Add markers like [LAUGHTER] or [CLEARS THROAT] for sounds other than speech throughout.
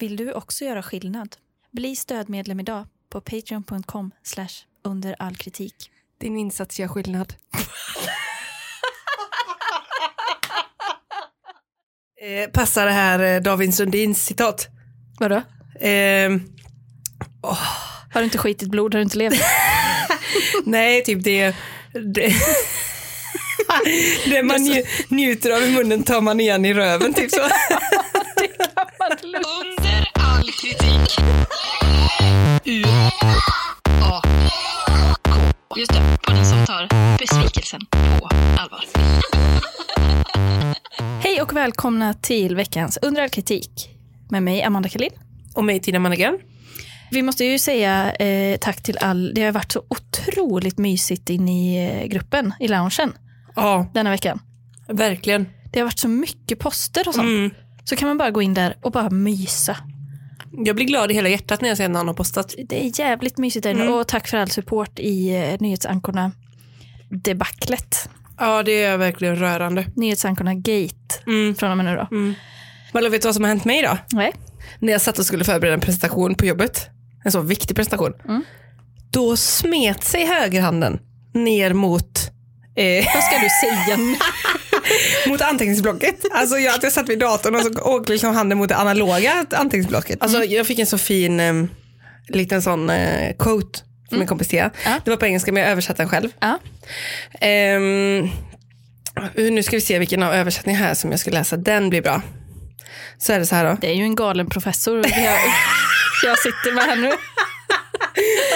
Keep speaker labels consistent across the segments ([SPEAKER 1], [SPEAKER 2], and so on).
[SPEAKER 1] Vill du också göra skillnad? Bli stödmedlem idag på patreon.com under all kritik.
[SPEAKER 2] Din insats gör skillnad.
[SPEAKER 3] [LAUGHS] Eh, passar det här eh, David Sundins citat?
[SPEAKER 1] Vadå?
[SPEAKER 3] Eh,
[SPEAKER 1] Har du inte skitit blod har du inte levt.
[SPEAKER 3] nej, typ det... Det, [LAUGHS] det man nju- njuter av i munnen tar man igen i röven, typ så.
[SPEAKER 4] Under all kritik. U A K. Just det, podden som tar besvikelsen på allvar.
[SPEAKER 1] [LAUGHS] Hej och välkomna till veckans Under all kritik med mig Amanda Kalin.
[SPEAKER 3] [LAUGHS] Och mig, Tina Mannegren.
[SPEAKER 1] Vi måste ju säga eh, tack till all, det har varit så otroligt mysigt in i eh, gruppen, i loungen,
[SPEAKER 3] Ja,
[SPEAKER 1] denna veckan.
[SPEAKER 3] verkligen.
[SPEAKER 1] Det har varit så mycket poster och sånt.
[SPEAKER 3] Mm.
[SPEAKER 1] Så kan man bara gå in där och bara mysa.
[SPEAKER 3] Jag blir glad i hela hjärtat när jag ser någon har postat.
[SPEAKER 1] Det är jävligt mysigt där inne och tack för all support i eh, nyhetsankorna debaclet.
[SPEAKER 3] Ja, det är verkligen rörande.
[SPEAKER 1] Nyhetsankorna Gate
[SPEAKER 3] Mm.
[SPEAKER 1] från och med nu då.
[SPEAKER 3] Men vet du vad som har hänt mig idag?
[SPEAKER 1] Nej.
[SPEAKER 3] När jag satt och skulle förbereda en presentation på jobbet, en så viktig presentation,
[SPEAKER 1] Mm.
[SPEAKER 3] då smet sig högerhanden ner mot, eh,
[SPEAKER 1] Vad ska du säga [LAUGHS] nu? [LAUGHS]
[SPEAKER 3] mot anteckningsblocket. Alltså jag, att jag satt vid datorn och så åkte liksom handen mot det analoga
[SPEAKER 1] Mm.
[SPEAKER 3] anteckningsblocket. Alltså jag fick en så fin eh, liten sån eh, quote från min kompis Thea.
[SPEAKER 1] Mm. Ja.
[SPEAKER 3] Det var på engelska men jag översatte den själv.
[SPEAKER 1] Ja.
[SPEAKER 3] Ehm, nu ska vi se vilken av översättningar här som jag ska läsa. Den blir bra. Så är det så här då.
[SPEAKER 1] Det är ju en galen professor jag, jag sitter med här [LAUGHS] nu.
[SPEAKER 3] [LAUGHS]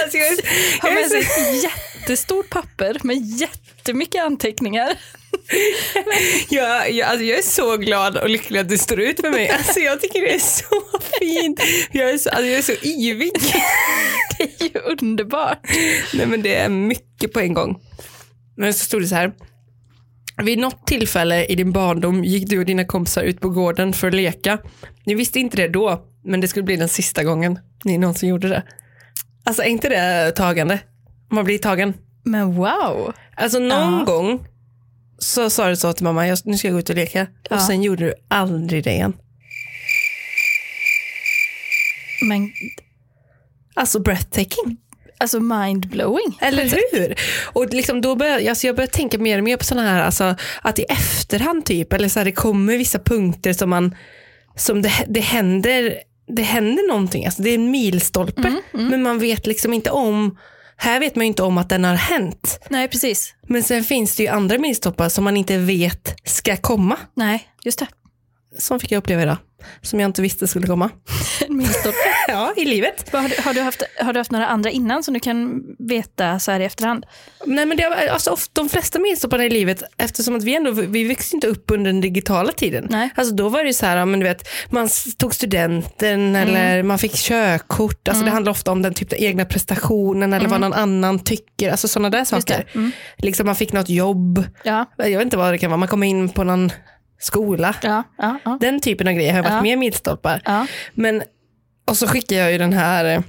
[SPEAKER 3] Alltså, jag är-
[SPEAKER 1] Har
[SPEAKER 3] jag är
[SPEAKER 1] med
[SPEAKER 3] så-
[SPEAKER 1] sig ett jättestort papper med jättemycket anteckningar. [LAUGHS]
[SPEAKER 3] Jag, jag, alltså jag är så glad och lycklig att du står ut med mig. Alltså jag tycker det är så fint. Jag är så, alltså jag är så ivig.
[SPEAKER 1] Det är ju underbart.
[SPEAKER 3] Nej men det är mycket på en gång. Men så stod det så här. Vid något tillfälle i din barndom gick du och dina kompisar ut på gården för att leka. Ni visste inte det då, men det skulle bli den sista gången ni någonsin gjorde det. Alltså är inte det tagande? Man blir tagen.
[SPEAKER 1] Men wow.
[SPEAKER 3] Alltså någon
[SPEAKER 1] Ja.
[SPEAKER 3] gång så sa du så till mamma, jag, nu ska jag gå ut och leka.
[SPEAKER 1] Ja.
[SPEAKER 3] Och sen gjorde du aldrig det igen.
[SPEAKER 1] Men
[SPEAKER 3] Alltså breathtaking.
[SPEAKER 1] alltså mindblowing.
[SPEAKER 3] Eller hur? Och liksom då börjar, alltså jag börjar tänka mer och mer på sådana här, alltså, att i efterhand typ, eller så här, det kommer vissa punkter som man, som det, det händer, det händer någonting, alltså det är en milstolpe, men man vet liksom inte om, här vet man ju inte om att den har hänt.
[SPEAKER 1] Nej, precis.
[SPEAKER 3] Men sen finns det ju andra milstolpar som man inte vet ska komma.
[SPEAKER 1] Nej, just det.
[SPEAKER 3] Som fick jag uppleva idag. Som jag inte visste skulle komma. [LAUGHS]
[SPEAKER 1] En milstolpe. [LAUGHS]
[SPEAKER 3] Ja, i livet.
[SPEAKER 1] Vad Har, du- har, du haft, har du haft några andra innan som du kan veta så här i efterhand?
[SPEAKER 3] Nej, men det, har- alltså, of- de flesta milstolparna i livet, eftersom att vi ändå vi växte inte upp under den digitala tiden.
[SPEAKER 1] Nej.
[SPEAKER 3] Alltså, då var det ju så här, ja, men du vet, man s- tog studenten
[SPEAKER 1] Mm.
[SPEAKER 3] eller man fick körkort. Alltså, Det handlar ofta om den typ den egna prestationen eller vad någon annan tycker. Alltså sådana där
[SPEAKER 1] Mm. det. Mm.
[SPEAKER 3] saker. Liksom, man fick något jobb.
[SPEAKER 1] Ja,
[SPEAKER 3] Jag vet inte vad det kan vara. Man kom in på någon skola.
[SPEAKER 1] ja, ja. ja.
[SPEAKER 3] Den typen av grejer har varit
[SPEAKER 1] Ja.
[SPEAKER 3] med i milstolpar.
[SPEAKER 1] ja.
[SPEAKER 3] Men, och så skickade jag ju den här eh,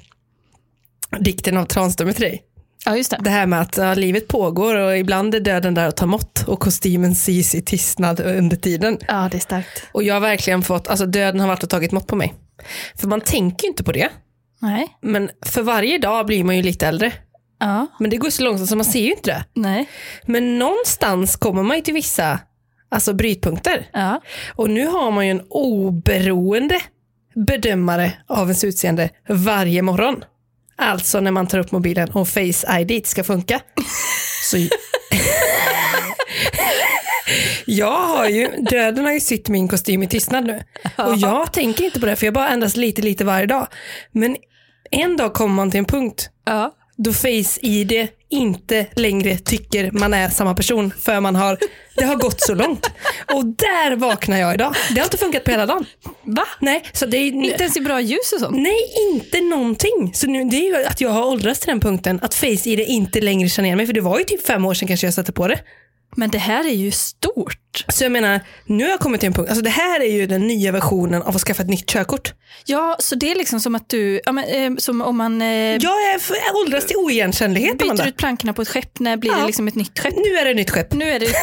[SPEAKER 3] dikten av Tranströmer till dig.
[SPEAKER 1] ja just det.
[SPEAKER 3] Det här med att ja, livet pågår och ibland är döden där och tar mått och kostymen sys i tystnad under tiden.
[SPEAKER 1] Ja, det är starkt.
[SPEAKER 3] Och jag har verkligen fått, alltså döden har varit och tagit mått på mig. För man tänker ju inte på det.
[SPEAKER 1] Nej.
[SPEAKER 3] Men för varje dag blir man ju lite äldre.
[SPEAKER 1] Ja,
[SPEAKER 3] Men det går så långsamt så man ser ju inte det.
[SPEAKER 1] nej.
[SPEAKER 3] Men någonstans kommer man ju till vissa alltså brytpunkter.
[SPEAKER 1] Ja.
[SPEAKER 3] Och nu har man ju en oberoende bedömare av ens utseende varje morgon. Alltså när man tar upp mobilen och Face ID ska funka. Så... jag har ju, döden har ju sytt min kostym i tystnad nu. Och jag tänker inte på det, för jag bara ändras lite, lite varje dag. Men en dag kommer man till en punkt
[SPEAKER 1] Ja.
[SPEAKER 3] då Face ID inte längre tycker man är samma person för man har, det har gått så långt. Och där vaknar jag idag. Det har inte funkat på hela dagen.
[SPEAKER 1] Va?
[SPEAKER 3] Nej, så det är,
[SPEAKER 1] Inte ens i bra ljus och sånt?
[SPEAKER 3] nej inte någonting. Så nu, det är ju att jag har åldrats till den punkten, att Face ID inte längre känner igen mig. För det var ju typ fem år sedan kanske jag satte på det.
[SPEAKER 1] Men det här är ju stort.
[SPEAKER 3] Så jag menar, nu har jag kommit till en punkt, alltså det här är ju den nya versionen av att skaffa ett nytt körkort.
[SPEAKER 1] Ja, så det är liksom som att du, ja, men, eh, som om man eh,
[SPEAKER 3] Jag är f- åldras till oigenkännlighet Amanda.
[SPEAKER 1] byter ut plankorna på ett skepp, när blir
[SPEAKER 3] Ja.
[SPEAKER 1] det liksom ett nytt skepp?
[SPEAKER 3] Nu är det ett nytt skepp.
[SPEAKER 1] Nu är det ett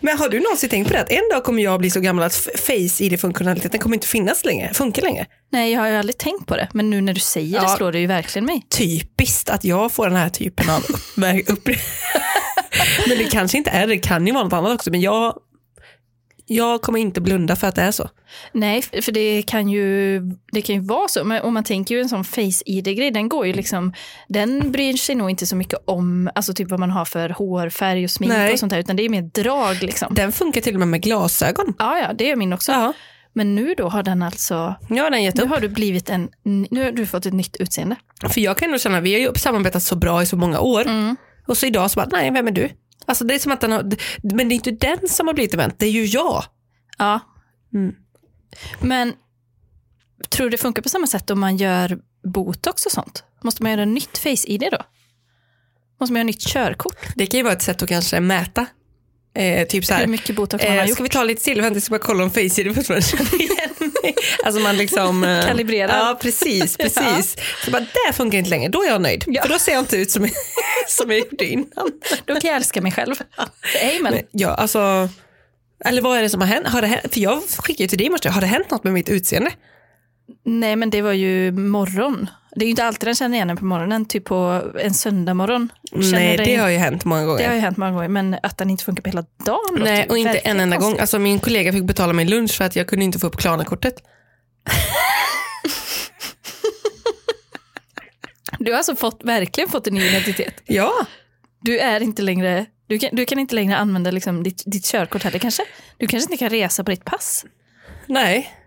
[SPEAKER 3] Men har du någonsin tänkt på det? Att en dag kommer jag bli så gammal att f- face-id-funktionaliteten kommer inte finnas längre. Funkar längre.
[SPEAKER 1] [LAUGHS] Nej, jag har ju aldrig tänkt på det. Men nu när du säger det
[SPEAKER 3] Ja.
[SPEAKER 1] slår det ju verkligen mig.
[SPEAKER 3] Typiskt att jag får den här typen av uppmär- upp... [LAUGHS] Men det kanske inte är det. Det kan ju vara något annat också. Men jag, jag kommer inte blunda för att det är så.
[SPEAKER 1] Nej, f- för det kan ju, det kan ju vara så. Men om man tänker ju en sån face-id-grej, den går ju liksom, den bryr sig nog inte så mycket om alltså typ vad man har för hårfärg och smink
[SPEAKER 3] Nej.
[SPEAKER 1] och sånt där, utan det är mer drag liksom.
[SPEAKER 3] Den funkar till och med med glasögon.
[SPEAKER 1] Ja, ja, det är min också.
[SPEAKER 3] Ja,
[SPEAKER 1] Men nu då har den alltså,
[SPEAKER 3] nu har den gett
[SPEAKER 1] nu
[SPEAKER 3] upp.
[SPEAKER 1] har du blivit en, nu har du fått ett nytt utseende.
[SPEAKER 3] För jag kan nog känna, vi har ju samarbetat så bra i så många år.
[SPEAKER 1] Mm.
[SPEAKER 3] Och så idag så bara, nej vem är du? Alltså det är som att den har, men det är inte den som har blivit dement, det är ju jag.
[SPEAKER 1] Ja.
[SPEAKER 3] Mm.
[SPEAKER 1] Men tror du det funkar på samma sätt om man gör botox och sånt? Måste man göra nytt face-id då? Måste man göra nytt körkort?
[SPEAKER 3] Det kan ju vara ett sätt att kanske mäta. Eh, typ så
[SPEAKER 1] Hur
[SPEAKER 3] här,
[SPEAKER 1] mycket botox man har
[SPEAKER 3] eh,
[SPEAKER 1] gjort?
[SPEAKER 3] ska vi ta lite till? Vänta, jag ska bara kolla om face är fortfarande känner igen mig. Alltså man liksom... eh,
[SPEAKER 1] Kalibrerar.
[SPEAKER 3] [LAUGHS] Ja, precis. precis. Så bara, det funkar inte längre, då är jag nöjd. För då ser jag [LAUGHS] inte ut som, som jag gjorde innan.
[SPEAKER 1] Då kan jag älska mig [LAUGHS] själv. Amen.
[SPEAKER 3] Men, ja, alltså... Eller vad är det som har hänt? Har det hänt? För jag skickade ju till dig i morse, har det hänt något med mitt utseende?
[SPEAKER 1] Nej men det var ju morgon. Det är ju inte alltid den känner igen den på morgonen, typ på en söndagmorgon. Känner
[SPEAKER 3] Nej,
[SPEAKER 1] den-
[SPEAKER 3] det har ju hänt många gånger.
[SPEAKER 1] det har ju hänt många gånger, men att den inte funkar på hela dagen
[SPEAKER 3] Nej,
[SPEAKER 1] låter
[SPEAKER 3] och inte
[SPEAKER 1] verkligen
[SPEAKER 3] en enda gång.
[SPEAKER 1] konstigt.
[SPEAKER 3] Alltså, min kollega fick betala min lunch för att jag kunde inte få upp Klarna-kortet.
[SPEAKER 1] Du har alltså fått, verkligen fått en ny identitet.
[SPEAKER 3] Ja,
[SPEAKER 1] Du är inte längre du kan, du kan inte längre använda liksom ditt, ditt körkort heller kanske? Du kanske inte kan resa på ditt pass?
[SPEAKER 3] nej.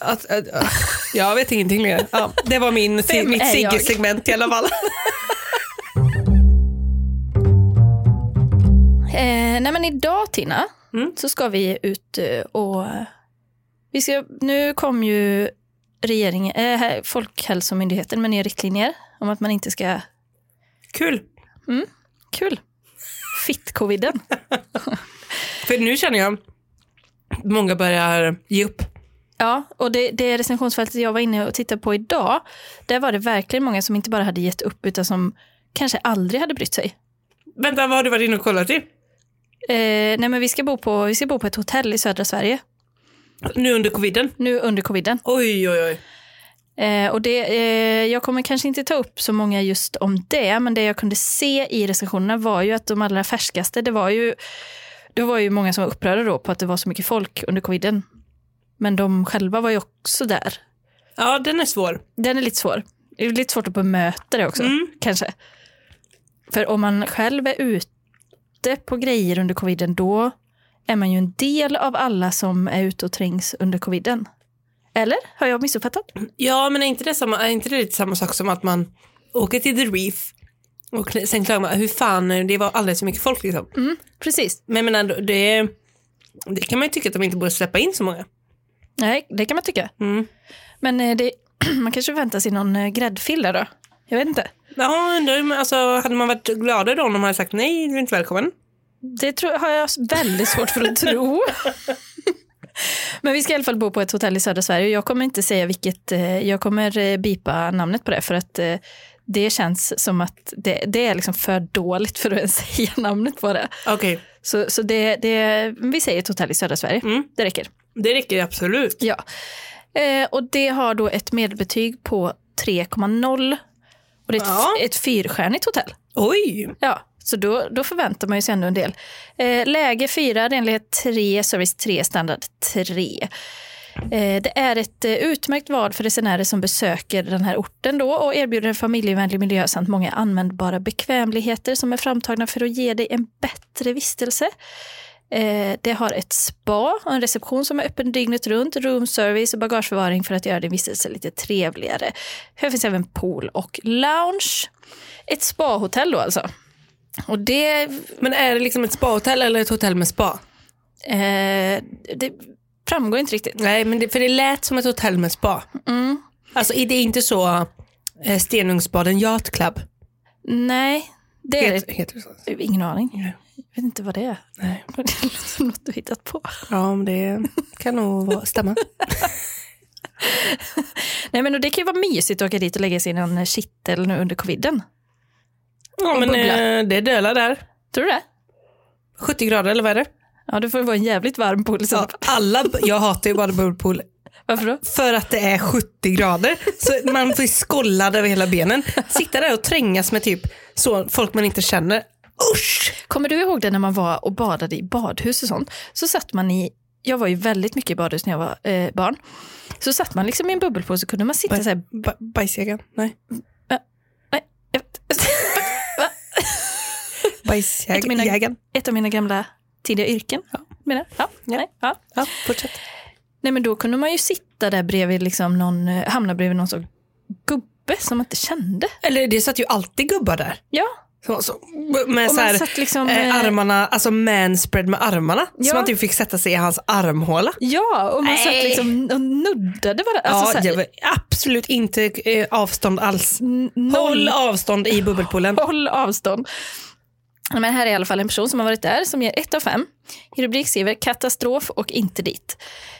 [SPEAKER 3] Att, att, att, jag vet ingenting längre. Ja, det var min,
[SPEAKER 1] Vem
[SPEAKER 3] mitt
[SPEAKER 1] är jag?
[SPEAKER 3] Sigge-segment i alla fall.
[SPEAKER 1] Eh, nej men idag Tina,
[SPEAKER 3] Mm.
[SPEAKER 1] så ska vi ut eh, och... Vi ska, nu kom ju regeringen, eh, här- Folkhälsomyndigheten med nya riktlinjer om att man inte ska...
[SPEAKER 3] Kul.
[SPEAKER 1] Kul! [LAUGHS] Fitt-coviden.
[SPEAKER 3] För nu känner jag många börjar ge upp.
[SPEAKER 1] Ja, och det, det recensionsfältet jag var inne och tittade på idag, där var det verkligen många som inte bara hade gett upp utan som kanske aldrig hade brytt sig.
[SPEAKER 3] Vänta, vad har du varit inne och kollat i?
[SPEAKER 1] Eh, nej men vi ska, bo på, vi ska bo på ett hotell i södra Sverige
[SPEAKER 3] Nu under coviden?
[SPEAKER 1] nu under coviden.
[SPEAKER 3] Oj, oj, oj.
[SPEAKER 1] Eh, och det, eh, jag kommer kanske inte ta upp så många just om det, men det jag kunde se i recensionerna var ju att de allra färskaste, det var ju, det var ju många som var upprörda då på att det var så mycket folk under coviden. Men de själva var ju också där.
[SPEAKER 3] Ja, den är svår.
[SPEAKER 1] Den är lite svår. Det är lite svårt att bemöta det också, kanske. För om man själv är ute på grejer under coviden, då är man ju en del av alla som är ute och trängs under coviden. Eller? Har jag missuppfattat?
[SPEAKER 3] Ja, men är inte det, samma, är inte det lite samma sak som att man åker till The Reef och sen klagar man, hur fan, det var alldeles för mycket folk liksom.
[SPEAKER 1] Precis.
[SPEAKER 3] Men jag menar, det, det kan man ju tycka att de inte borde släppa in så många.
[SPEAKER 1] Nej, det kan man tycka.
[SPEAKER 3] Mm.
[SPEAKER 1] Men eh, det, [CLEARS THROAT] man kanske väntar sig någon eh, gräddfil där då? Jag vet inte.
[SPEAKER 3] Ja, undrar, hur man- alltså, hade man varit gladare då om de hade sagt nej, du är inte välkommen?
[SPEAKER 1] Det tror, har jag väldigt svårt för att tro. Men vi ska i alla fall bo på ett hotell i södra Sverige. Jag kommer inte säga vilket, eh, jag kommer eh, bipa namnet på det för att eh, det känns som att det, det är liksom för dåligt för att ens [LAUGHS] säga namnet på det.
[SPEAKER 3] Okej,
[SPEAKER 1] Så, så det, det, vi säger ett hotell i södra Sverige.
[SPEAKER 3] Mm.
[SPEAKER 1] Det räcker.
[SPEAKER 3] det räcker absolut.
[SPEAKER 1] Ja. Eh, och det har då ett medelbetyg på 3,0 och det är ett,
[SPEAKER 3] Ja.
[SPEAKER 1] ett fyrstjärnigt hotell.
[SPEAKER 3] Oj!
[SPEAKER 1] Ja, så då, då förväntar man ju sig ändå en del. Eh, läge 4, renlighet 3, service 3, standard 3. Eh, det är ett eh, utmärkt val för resenärer som besöker den här orten då och erbjuder en familjevänlig miljö samt många användbara bekvämligheter som är framtagna för att ge dig en bättre vistelse. Eh, det har ett spa och en reception som är öppen dygnet runt, roomservice och bagageförvaring för att göra din vistelse lite trevligare. Här finns även pool och lounge. Ett spahotell då alltså. Och det,
[SPEAKER 3] Men är det liksom ett spahotell eller ett hotell med spa?
[SPEAKER 1] eh, det framgår inte riktigt.
[SPEAKER 3] Nej, men det, för det lät som ett hotell med spa.
[SPEAKER 1] Mm.
[SPEAKER 3] Alltså är det är inte så eh, Stenungsbaden Yacht Club?
[SPEAKER 1] Nej, det är
[SPEAKER 3] Het, heter det så?
[SPEAKER 1] det. Ingen aning.
[SPEAKER 3] Nej.
[SPEAKER 1] Jag vet inte vad det är.
[SPEAKER 3] Nej.
[SPEAKER 1] [LAUGHS] Det låter som något du hittat på.
[SPEAKER 3] Ja, men det kan nog
[SPEAKER 1] [LAUGHS]
[SPEAKER 3] vara- stämma.
[SPEAKER 1] Nej, men och det kan ju vara mysigt att åka dit och lägga sig i någon kittel nu under coviden.
[SPEAKER 3] Ja, men
[SPEAKER 1] bubbla.
[SPEAKER 3] eh, det dölar där.
[SPEAKER 1] Tror du det?
[SPEAKER 5] 70 grader eller vad är det?
[SPEAKER 1] Ja, det får vara en jävligt varm pool. Så.
[SPEAKER 3] Ja, alla, jag hatar ju bara bubbelpool
[SPEAKER 1] Varför då?
[SPEAKER 3] för att det är 70 grader. Så man blir skållad över hela benen. Sitta där och trängas med typ så, folk man inte känner. Usch!
[SPEAKER 1] Kommer du ihåg det när man var och badade i badhus och sånt? Så satt man i, jag var ju väldigt mycket i badhus när jag var eh, barn. Så satt man liksom i en bubbelpool så kunde man sitta så här.
[SPEAKER 3] Ba- bajsjägaren? Nej.
[SPEAKER 1] Nej, jag- Ett av mina-
[SPEAKER 3] Bajsjägaren.
[SPEAKER 1] Ett av mina gamla tidiga yrken. Ja. Mina, ja,
[SPEAKER 3] Ja.
[SPEAKER 1] Nej, ja.
[SPEAKER 3] Ja, fortsätt.
[SPEAKER 1] Nej men då kunde man ju sitta där bredvid liksom någon, eh, hamna bredvid någon sån gubbe som man inte kände.
[SPEAKER 3] Eller det satt ju alltid gubbar där.
[SPEAKER 1] Ja,
[SPEAKER 3] Så, så, med
[SPEAKER 1] och
[SPEAKER 3] så
[SPEAKER 1] man
[SPEAKER 3] här,
[SPEAKER 1] satt liksom...
[SPEAKER 3] eh,
[SPEAKER 1] eh,
[SPEAKER 3] armarna, alltså manspread med armarna.
[SPEAKER 1] Ja.
[SPEAKER 3] Så man typ fick sätta sig i hans armhåla.
[SPEAKER 1] Ja, och man satt
[SPEAKER 3] Nej.
[SPEAKER 1] liksom och nuddade varandra. Alltså,
[SPEAKER 3] ja,
[SPEAKER 1] så
[SPEAKER 3] jag
[SPEAKER 1] här,
[SPEAKER 3] var absolut inte eh, avstånd alls.
[SPEAKER 1] n-
[SPEAKER 3] Håll
[SPEAKER 1] noll
[SPEAKER 3] avstånd i bubbelpoolen.
[SPEAKER 1] Håll avstånd. Ja, Men här är i alla fall en person som har varit där som ger ett av fem. I rubrik skriver katastrof och inte dit.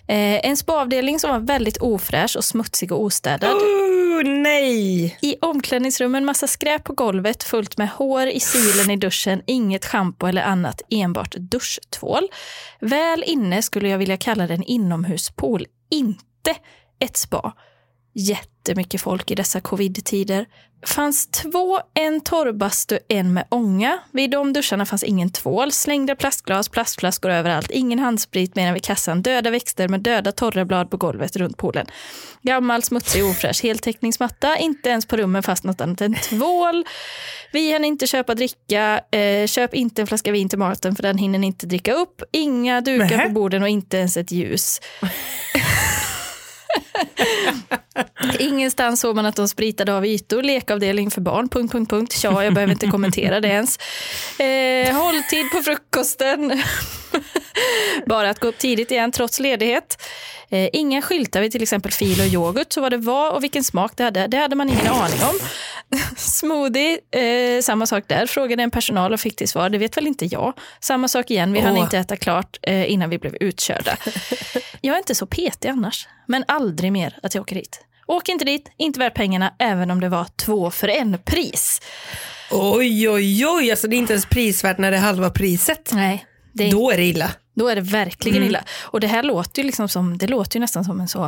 [SPEAKER 1] Eh, en spaavdelning som var väldigt ofräsch och smutsig och ostädad.
[SPEAKER 3] Oh, nej!
[SPEAKER 1] I omklädningsrummen massa skräp på golvet fullt med hår i silen i duschen, inget schampo eller annat, enbart duschtvål. Väl inne skulle jag vilja kalla det en inomhuspool, inte ett spa. Jättemycket folk i dessa covid-tider. Fanns två, en torrbastu, en med ånga. Vid de duscharna fanns ingen tvål, slängda plastglas, plastflaskor överallt, ingen handsprit mer än vid kassan, döda växter med döda torra blad på golvet runt poolen. Gammal, smutsig, ofräsch, heltäckningsmatta, inte ens på rummen fast något annat än tvål. Vi hann inte köpa dricka, eh, köp inte en flaska vin till maten för den hinner ni inte dricka upp. Inga dukar
[SPEAKER 3] Nähä.
[SPEAKER 1] på borden och inte ens ett ljus. Ingenstans såg man att de spritade av ytor, lekavdelning för barn, punkt, punkt, punkt. Tja, jag behöver inte kommentera det ens. Eh, hålltid på frukosten. Bara att gå upp tidigt igen trots ledighet. Eh, inga skyltar vid till exempel fil och yoghurt, så vad det var och vilken smak det hade, det hade man ingen aning om. [LAUGHS] Smoothie, eh, samma sak där. Frågade en personal och fick till svar, det vet väl inte jag. Samma sak igen, vi hann
[SPEAKER 3] Åh.
[SPEAKER 1] inte äta klart eh, innan vi blev [LAUGHS] utkörda. Jag är inte så petig annars, men aldrig mer att jag åker hit. Åk inte dit, inte värt pengarna, även om det var två för en-pris.
[SPEAKER 3] Oj, oj, oj. Alltså det är inte ens prisvärt när det är halva priset.
[SPEAKER 1] Nej, det är
[SPEAKER 3] Då är det illa.
[SPEAKER 1] Då är det verkligen
[SPEAKER 3] Mm.
[SPEAKER 1] illa. Och det här låter ju, liksom som, det låter ju nästan som en så,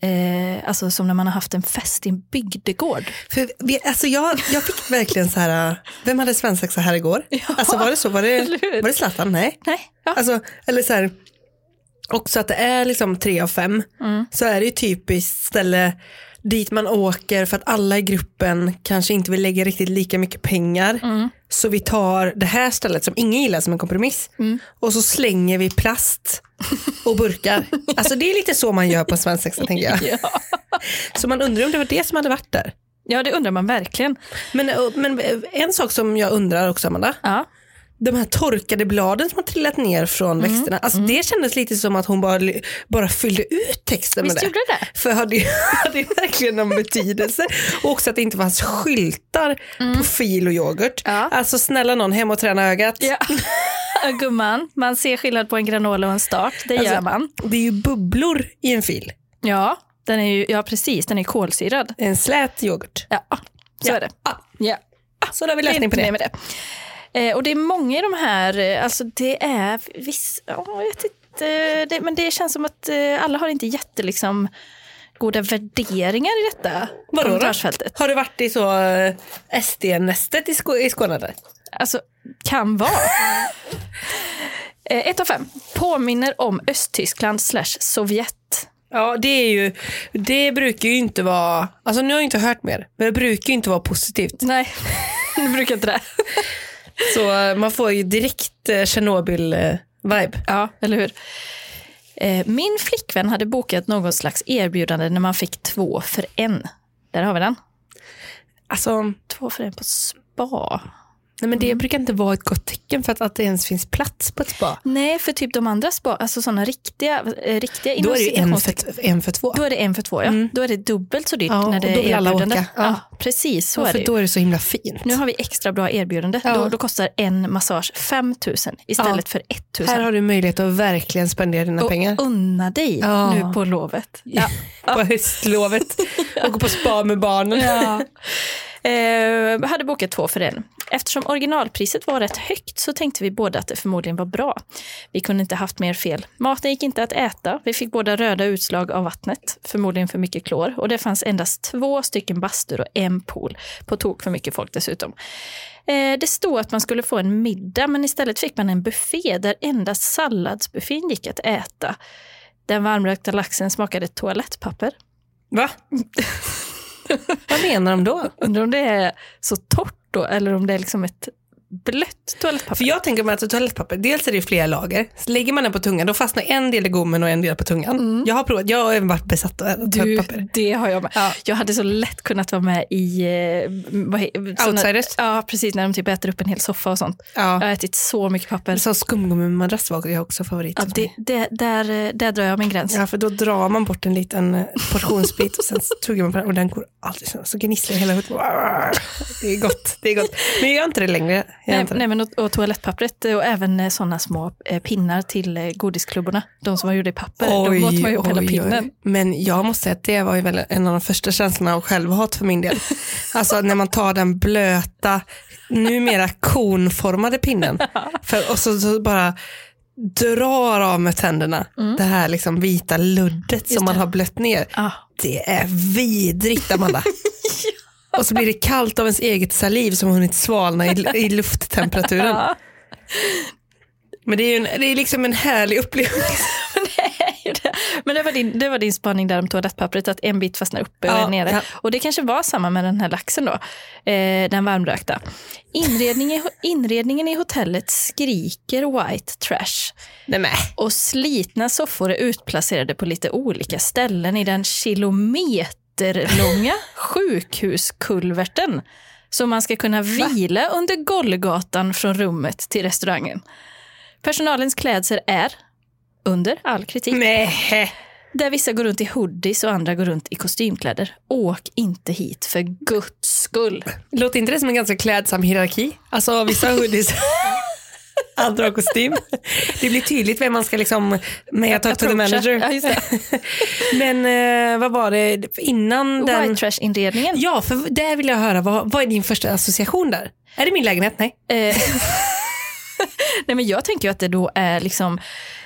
[SPEAKER 1] eh, alltså som när man har haft en fest i en bygdegård.
[SPEAKER 3] För, vi- alltså jag, jag fick verkligen så här, äh, vem hade svensexa här [LAUGHS] igår? alltså var det så? Var det,
[SPEAKER 1] eller hur?
[SPEAKER 3] var det Zlatan? Nej.
[SPEAKER 1] Nej, ja.
[SPEAKER 3] Alltså, eller så här, också att det är liksom tre av fem, så är det ju typiskt ställe dit man åker för att alla i gruppen kanske inte vill lägga riktigt lika mycket pengar. Så vi tar det här stället som ingen gillar som en kompromiss och så slänger vi plast och burkar. alltså det är lite så man gör på en svensexa tänker jag. Så man undrar om det var det som hade varit där.
[SPEAKER 1] ja, det undrar man verkligen.
[SPEAKER 3] Men, eh, men en sak som jag undrar också Amanda,
[SPEAKER 1] Ja.
[SPEAKER 3] de här torkade bladen som har trillat ner från
[SPEAKER 1] Mm.
[SPEAKER 3] växterna. Alltså Det kändes lite som att hon bara, bara fyllde ut texten
[SPEAKER 1] Visst
[SPEAKER 3] med det.
[SPEAKER 1] gjorde det det?
[SPEAKER 3] För hade, ju- [LAUGHS] hade ju verkligen någon betydelse. Och också att det inte fanns skyltar på fil och yoghurt.
[SPEAKER 1] Mm. Ja.
[SPEAKER 3] Alltså snälla någon, hem och träna ögat.
[SPEAKER 1] Gumman, man ser skillnad på en granola och en start, det
[SPEAKER 3] Alltså-
[SPEAKER 1] gör man.
[SPEAKER 3] Det är ju bubblor i en fil.
[SPEAKER 1] Ja, den är ju, ja precis, den är kolsyrad.
[SPEAKER 3] En slät yoghurt.
[SPEAKER 1] Ja, så
[SPEAKER 3] Ja.
[SPEAKER 1] är det.
[SPEAKER 3] Ah,
[SPEAKER 1] Ja.
[SPEAKER 3] så då har vi
[SPEAKER 1] Det är
[SPEAKER 3] lösning på
[SPEAKER 1] inte
[SPEAKER 3] det.
[SPEAKER 1] mer Med det. Eh, och det är många i de här, eh, alltså det är viss, ja, jag vet inte, det, men det känns som att eh, alla har inte jätte liksom goda värderingar i detta
[SPEAKER 3] Vadå då?
[SPEAKER 1] kommentarsfältet.
[SPEAKER 3] Har du varit i så eh, SD-nästet i, Skå- i Skåne? Där?
[SPEAKER 1] Alltså, kan vara. Eh, Ett av fem. Påminner om Östtyskland slash Sovjet.
[SPEAKER 3] Ja, det är ju, det brukar ju inte vara, alltså nu har jag inte hört mer, men det brukar ju inte vara
[SPEAKER 1] [LAUGHS]
[SPEAKER 3] positivt.
[SPEAKER 1] Nej, det brukar inte det.
[SPEAKER 3] [LAUGHS] Så eh, man får ju direkt eh, Tjernobyl-vibe.
[SPEAKER 1] Ja, eller hur? Eh, Min flickvän hade bokat någon slags erbjudande när man fick två för en. Där har vi den.
[SPEAKER 3] Alltså, nej
[SPEAKER 1] Två för en på spa.
[SPEAKER 3] men det brukar inte vara ett gott tecken för att, att det ens finns plats på ett spa.
[SPEAKER 1] Nej, för typ de andra spa, alltså sådana riktiga, eh, riktiga
[SPEAKER 3] Då är det ju en
[SPEAKER 1] innovationstecken-
[SPEAKER 3] för, en för två. Mm.
[SPEAKER 1] Då är det en för två, ja. Då är det dubbelt så dyrt
[SPEAKER 3] Ja,
[SPEAKER 1] när
[SPEAKER 3] och
[SPEAKER 1] det
[SPEAKER 3] då
[SPEAKER 1] är
[SPEAKER 3] vill alla
[SPEAKER 1] erbjudande.
[SPEAKER 3] åka.
[SPEAKER 1] Ja.
[SPEAKER 3] Ja.
[SPEAKER 1] precis, så
[SPEAKER 3] Ja,
[SPEAKER 1] är det
[SPEAKER 3] för
[SPEAKER 1] ju.
[SPEAKER 3] då är det så himla fint.
[SPEAKER 1] Nu har vi extra bra erbjudande.
[SPEAKER 3] Ja.
[SPEAKER 1] Då, då kostar en massage 5 000 istället för 1 000.
[SPEAKER 3] Här har du möjlighet att verkligen spendera dina
[SPEAKER 1] och
[SPEAKER 3] pengar.
[SPEAKER 1] unna dig
[SPEAKER 3] Ja.
[SPEAKER 1] nu på lovet. Ja.
[SPEAKER 3] [LAUGHS] på höstlovet och gå på spa med barnen.
[SPEAKER 1] Ja. [LAUGHS] Eh, hade bokat två för en. Eftersom originalpriset var rätt högt så tänkte vi båda att det förmodligen var bra. Vi kunde inte haft mer fel. Maten gick inte att äta. Vi fick båda röda utslag av vattnet, förmodligen för mycket klor. Och det fanns endast två stycken bastur och en pool. På tok för mycket folk dessutom. Eh, Det stod att man skulle få en middag, men istället fick man en buffé där endast salladsbuffén gick att äta. Den varmrökta laxen smakade toalettpapper.
[SPEAKER 3] [LAUGHS]
[SPEAKER 5] Va? Vad menar de då?
[SPEAKER 1] Undrar om det är så torrt då, eller om det är liksom ett blött toalettpapper.
[SPEAKER 3] För jag tänker mig att toalettpapper, dels är det flera lager, så lägger man den på tungan, då fastnar en del i gommen och en del på tungan. Jag har provat, jag har även varit besatt av
[SPEAKER 1] Mm. Du,
[SPEAKER 3] toalettpapper.
[SPEAKER 1] det har jag med. Jag hade så lätt kunnat vara med i... eh, vad he- såna-
[SPEAKER 3] Outsiders?
[SPEAKER 1] Ja, precis. När de typ äter upp en hel soffa och sånt. Jag
[SPEAKER 3] Ja.
[SPEAKER 1] har ätit så mycket papper.
[SPEAKER 3] Så skumgummimadrass var jag också favorit.
[SPEAKER 1] Ja,
[SPEAKER 3] för
[SPEAKER 1] det,
[SPEAKER 3] mig.
[SPEAKER 1] det, där, eh, där drar jag min gräns.
[SPEAKER 3] ja, för då drar man bort en liten eh, portionsbit och sen så tuggar man på den och den går alltid så, så gnisslar hela huvudet. Det är gott, det är gott. Men jag gör inte det längre. Jag gör
[SPEAKER 1] Nej,
[SPEAKER 3] inte det.
[SPEAKER 1] nej, men och, och toalettpappret eh, och även eh, sådana små eh, pinnar till eh, godisklubborna. De som var gjorda i papper.
[SPEAKER 3] Oj,
[SPEAKER 1] då åt man ju upp hela
[SPEAKER 3] oj,
[SPEAKER 1] pinnen.
[SPEAKER 3] oj. Men jag måste säga att det var ju väl en av de första känslorna av självhat för
[SPEAKER 1] [LAUGHS]
[SPEAKER 3] min del. Alltså när man tar den blöta, numera
[SPEAKER 1] [LAUGHS]
[SPEAKER 3] konformade pinnen för, och så, så bara drar av med tänderna.
[SPEAKER 1] Mm.
[SPEAKER 3] Det här liksom vita luddet som man har blött ner.
[SPEAKER 1] Ah.
[SPEAKER 3] Det är vidrigt
[SPEAKER 1] [LAUGHS]
[SPEAKER 3] Amanda. Och så blir det kallt av ens eget saliv som har hunnit svalna i,
[SPEAKER 1] [LAUGHS]
[SPEAKER 3] i lufttemperaturen. Men det är ju en, det är liksom en härlig upplevelse.
[SPEAKER 1] Men det var, din, det var din spaning där om toalettpappret, att en bit fastnar uppe och
[SPEAKER 3] Ja,
[SPEAKER 1] en nere.
[SPEAKER 3] ja.
[SPEAKER 1] Och det kanske var samma med den här laxen då, eh, den varmrökta. Inredningen, inredningen i hotellet skriker white trash.
[SPEAKER 3] Nej, men.
[SPEAKER 1] Och slitna soffor är utplacerade på lite olika ställen i den
[SPEAKER 3] [LAUGHS]
[SPEAKER 1] kilometerlånga sjukhuskulverten. Så man ska kunna vila under Golgatan från rummet till restaurangen. Personalens klädsel är, under all kritik,
[SPEAKER 3] Nej.
[SPEAKER 1] där vissa går runt i hoodies och andra går runt i kostymkläder. Åk inte hit för guds skull.
[SPEAKER 3] Låter inte det som en ganska klädsam hierarki? Alltså vissa har hoodies, [LAUGHS] andra har kostym. Det blir tydligt vem man ska liksom, men jag tar to the manager.
[SPEAKER 1] Ja, just det. [LAUGHS]
[SPEAKER 3] Men eh, vad var det innan
[SPEAKER 1] White
[SPEAKER 3] den?
[SPEAKER 1] trash-inredningen.
[SPEAKER 3] Ja, för där vill jag höra, vad, vad är din första association där? Är det min lägenhet? Nej.
[SPEAKER 1] Eh, [LAUGHS] Nej, men jag tänker ju att det då är liksom,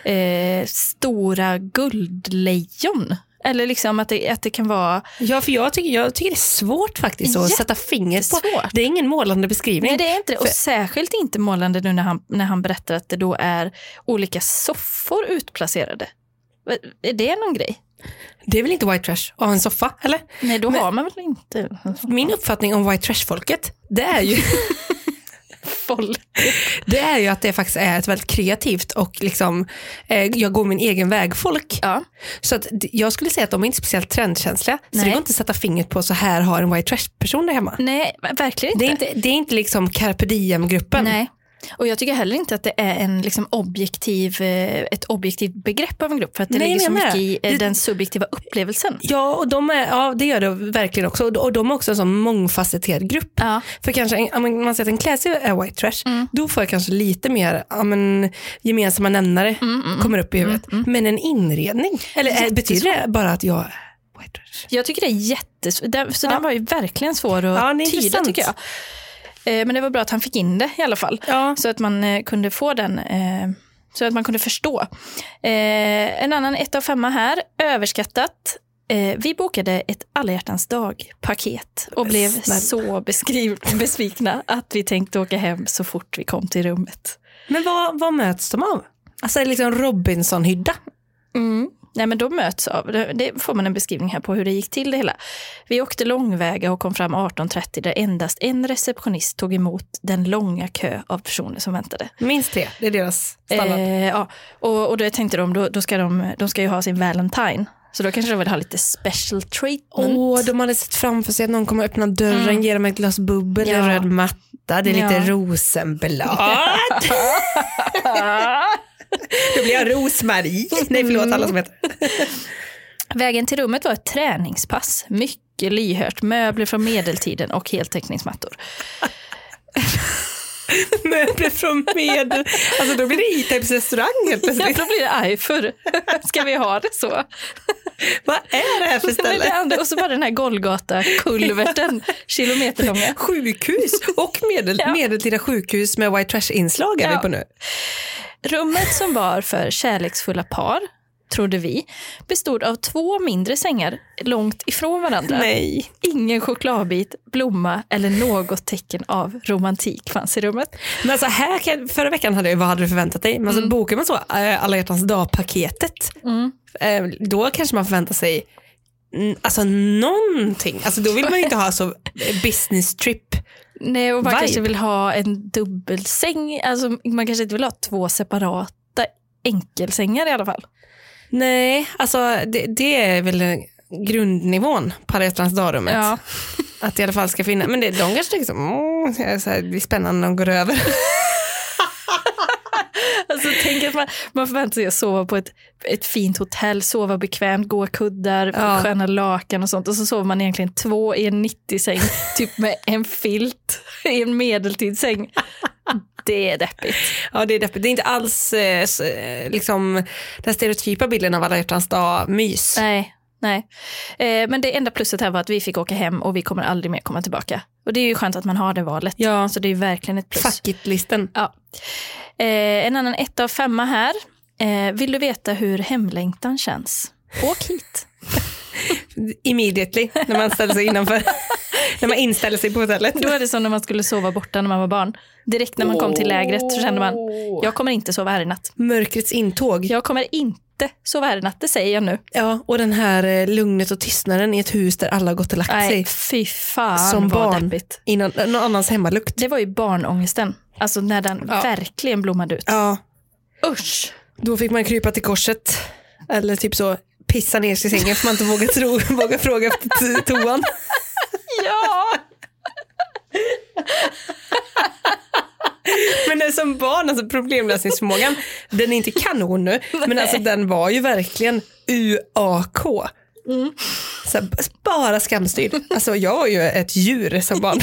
[SPEAKER 1] eh, stora guldlejon. Eller liksom att det, att det kan vara...
[SPEAKER 3] Ja, för jag tycker, jag tycker det är svårt faktiskt att sätta fingret på.
[SPEAKER 1] Jättesvårt.
[SPEAKER 3] Det är ingen målande beskrivning.
[SPEAKER 1] Nej, det är inte det. Och särskilt inte målande nu när han, när han berättar att det då är olika soffor utplacerade. Va- Är det någon grej?
[SPEAKER 3] Det är väl inte white trash att ha en soffa, eller?
[SPEAKER 1] Nej, då har man väl inte...
[SPEAKER 3] Min uppfattning om white trash-folket, det är ju
[SPEAKER 1] Boll.
[SPEAKER 3] Det är ju att det faktiskt är ett väldigt kreativt och liksom, eh, jag går min egen väg folk.
[SPEAKER 1] Ja.
[SPEAKER 3] Så att, d- jag skulle säga att de är inte speciellt trendkänsliga. Så
[SPEAKER 1] Nej.
[SPEAKER 3] det går inte att sätta fingret på så här har en white trash person där hemma.
[SPEAKER 1] Nej, ver- verkligen
[SPEAKER 3] Det
[SPEAKER 1] inte.
[SPEAKER 3] är inte, det är inte liksom carpe diem-gruppen.
[SPEAKER 1] Nej. Och jag tycker heller inte att det är en, liksom, objektiv, eh, ett objektivt begrepp av en grupp. För att det
[SPEAKER 3] Nej,
[SPEAKER 1] ligger så
[SPEAKER 3] jag menar
[SPEAKER 1] mycket i eh,
[SPEAKER 3] det.
[SPEAKER 1] den subjektiva upplevelsen.
[SPEAKER 3] Ja, och de är, ja, det gör det verkligen också. Och de- Och de är också en sån mångfacetterad grupp.
[SPEAKER 1] Ja. Mm.
[SPEAKER 3] För kanske, en- om man säger att en klädsel är white trash, då får jag kanske lite mer ja, men, gemensamma nämnare
[SPEAKER 1] Mm,
[SPEAKER 3] kommer upp i huvudet. Men en inredning, eller är- betyder det bara att jag är white trash?
[SPEAKER 1] Jag tycker det är jättesvårt. Den, så den var ju verkligen svår att
[SPEAKER 3] Ja, det är
[SPEAKER 1] tyda
[SPEAKER 3] intressant.
[SPEAKER 1] tycker jag. Eh, Men det var bra att han fick in det i alla fall.
[SPEAKER 3] Ja.
[SPEAKER 1] Så att man eh, kunde få den, eh, så att man kunde förstå. Eh, En annan ett av femma här, överskattat. Eh, Vi bokade ett alla hjärtans dag-paket och blev
[SPEAKER 3] snälla.
[SPEAKER 1] så beskriv- [LAUGHS] besvikna att vi tänkte åka hem så fort vi kom till rummet.
[SPEAKER 3] Men vad, vad möts de av? Alltså är det liksom Robinson-hydda?
[SPEAKER 1] Nej, men de möts av, det det får man en beskrivning här på hur det gick till det hela. Vi åkte långväga och kom fram 18.30 där endast en receptionist tog emot den långa kö av personer som väntade.
[SPEAKER 3] Minst tre, det är deras standard.
[SPEAKER 1] Eh, ja. och, och då tänkte de, då, då ska de, de ska ju ha sin Valentine. Så då kanske de vill ha lite special
[SPEAKER 3] Åh,
[SPEAKER 1] treatment.
[SPEAKER 3] de hade sett framför sig att någon kommer öppna dörren, ge dem ett glas bubbel,
[SPEAKER 1] Ja.
[SPEAKER 3] en röd matta, det är lite
[SPEAKER 1] Ja.
[SPEAKER 3] rosenblad. Då blir jag Rosmarie. [LAUGHS] Nej, förlåt alla som heter
[SPEAKER 1] [LAUGHS] Vägen till rummet var ett träningspass. Mycket lyhört, möbler från medeltiden och heltäckningsmattor.
[SPEAKER 3] [LAUGHS] Möbler från med. Alltså då blir det E-Types restaurang helt
[SPEAKER 1] Ja,
[SPEAKER 3] plötsligt.
[SPEAKER 1] då blir det Eifur. Ska vi ha det så?
[SPEAKER 3] Vad är det här för
[SPEAKER 1] Men det
[SPEAKER 3] ställe?
[SPEAKER 1] andra, och så bara den här Golgata-kulverten, kilometerlånga.
[SPEAKER 3] Sjukhus och medel,
[SPEAKER 1] Ja.
[SPEAKER 3] medeltida sjukhus med white trash-inslag är
[SPEAKER 1] Ja.
[SPEAKER 3] vi på nu.
[SPEAKER 1] Rummet som var för kärleksfulla par, trodde vi, bestod av två mindre sängar långt ifrån varandra.
[SPEAKER 3] Nej.
[SPEAKER 1] Ingen chokladbit, blomma eller något tecken av romantik fanns i rummet.
[SPEAKER 3] Men alltså här, kan- förra veckan hade jag, vad hade du förväntat dig? Men
[SPEAKER 1] Mm.
[SPEAKER 3] alltså bokar man så, eh, alla hjärtans dag-paketet, eh, då kanske man förväntar sig mm, Alltså någonting. Alltså då vill man ju inte ha så eh, business trip.
[SPEAKER 1] Nej, och man
[SPEAKER 3] Vibe.
[SPEAKER 1] kanske vill ha en dubbelsäng. Alltså, man kanske inte vill ha två separata enkelsängar i alla fall.
[SPEAKER 3] Nej, alltså det, det är väl eh, grundnivån på alla hjärtans dag-rummet.
[SPEAKER 1] Ja. [LAUGHS]
[SPEAKER 3] Att det i alla fall ska finnas. Men det, de kanske tänker så, "Åh, det är så här, det blir spännande när de går över. [LAUGHS]
[SPEAKER 1] Alltså, tänk att man, man förväntar sig att sova på ett, ett fint hotell, sova bekvämt, goa kuddar,
[SPEAKER 3] Ja.
[SPEAKER 1] sköna lakan och sånt. Och så sover man egentligen två i en 90-säng, typ med en filt i en
[SPEAKER 3] [LAUGHS]
[SPEAKER 1] medeltidssäng. Det är deppigt.
[SPEAKER 3] Ja, det är deppigt. Det är inte alls eh, s- eh, liksom, den stereotypa bilden av alla hjärtans dag-mys.
[SPEAKER 1] Nej, nej. Eh, men det enda plusset här var att vi fick åka hem och vi kommer aldrig mer komma tillbaka. Och det är ju skönt att man har det valet.
[SPEAKER 3] Ja.
[SPEAKER 1] Så det är ju verkligen ett plus.
[SPEAKER 3] Fuck it-listen.
[SPEAKER 1] Ja. Eh, en annan etta av femma här. Eh, vill du veta hur hemlängtan känns? Åk
[SPEAKER 3] [LAUGHS]
[SPEAKER 1] hit.
[SPEAKER 3] Immediately, när man ställer sig [LAUGHS] innanför. när man inställer sig på hotellet.
[SPEAKER 1] Då är det som när man skulle sova borta när man var barn. Direkt när man kom till lägret så kände man, jag kommer inte sova här i natt.
[SPEAKER 3] Mörkrets intåg.
[SPEAKER 1] Jag kommer inte sova här i natt, det säger jag nu.
[SPEAKER 3] Ja, och den här eh, lugnet och tystnaden i ett hus där alla har gått och lagt
[SPEAKER 1] Nej,
[SPEAKER 3] sig.
[SPEAKER 1] fy fan
[SPEAKER 3] Som
[SPEAKER 1] vad
[SPEAKER 3] barn.
[SPEAKER 1] deppigt.
[SPEAKER 3] Innan, någon annans hemmalukt.
[SPEAKER 1] Det var ju barnångesten, alltså när den verkligen blommade ut.
[SPEAKER 3] Ja,
[SPEAKER 1] Usch!
[SPEAKER 3] då fick man krypa till korset. Eller typ så pissa ner sig i sängen för man inte vågar, [LAUGHS] tro, vågar fråga efter t- toan.
[SPEAKER 1] Ja!
[SPEAKER 3] Men det är som barn, alltså problemlösningsförmågan, den är inte kanon nu, men alltså den var ju verkligen UAK.
[SPEAKER 1] Mm.
[SPEAKER 3] Så här, bara skamstyrd. Alltså jag var ju ett djur
[SPEAKER 1] [LAUGHS]
[SPEAKER 3] som barn.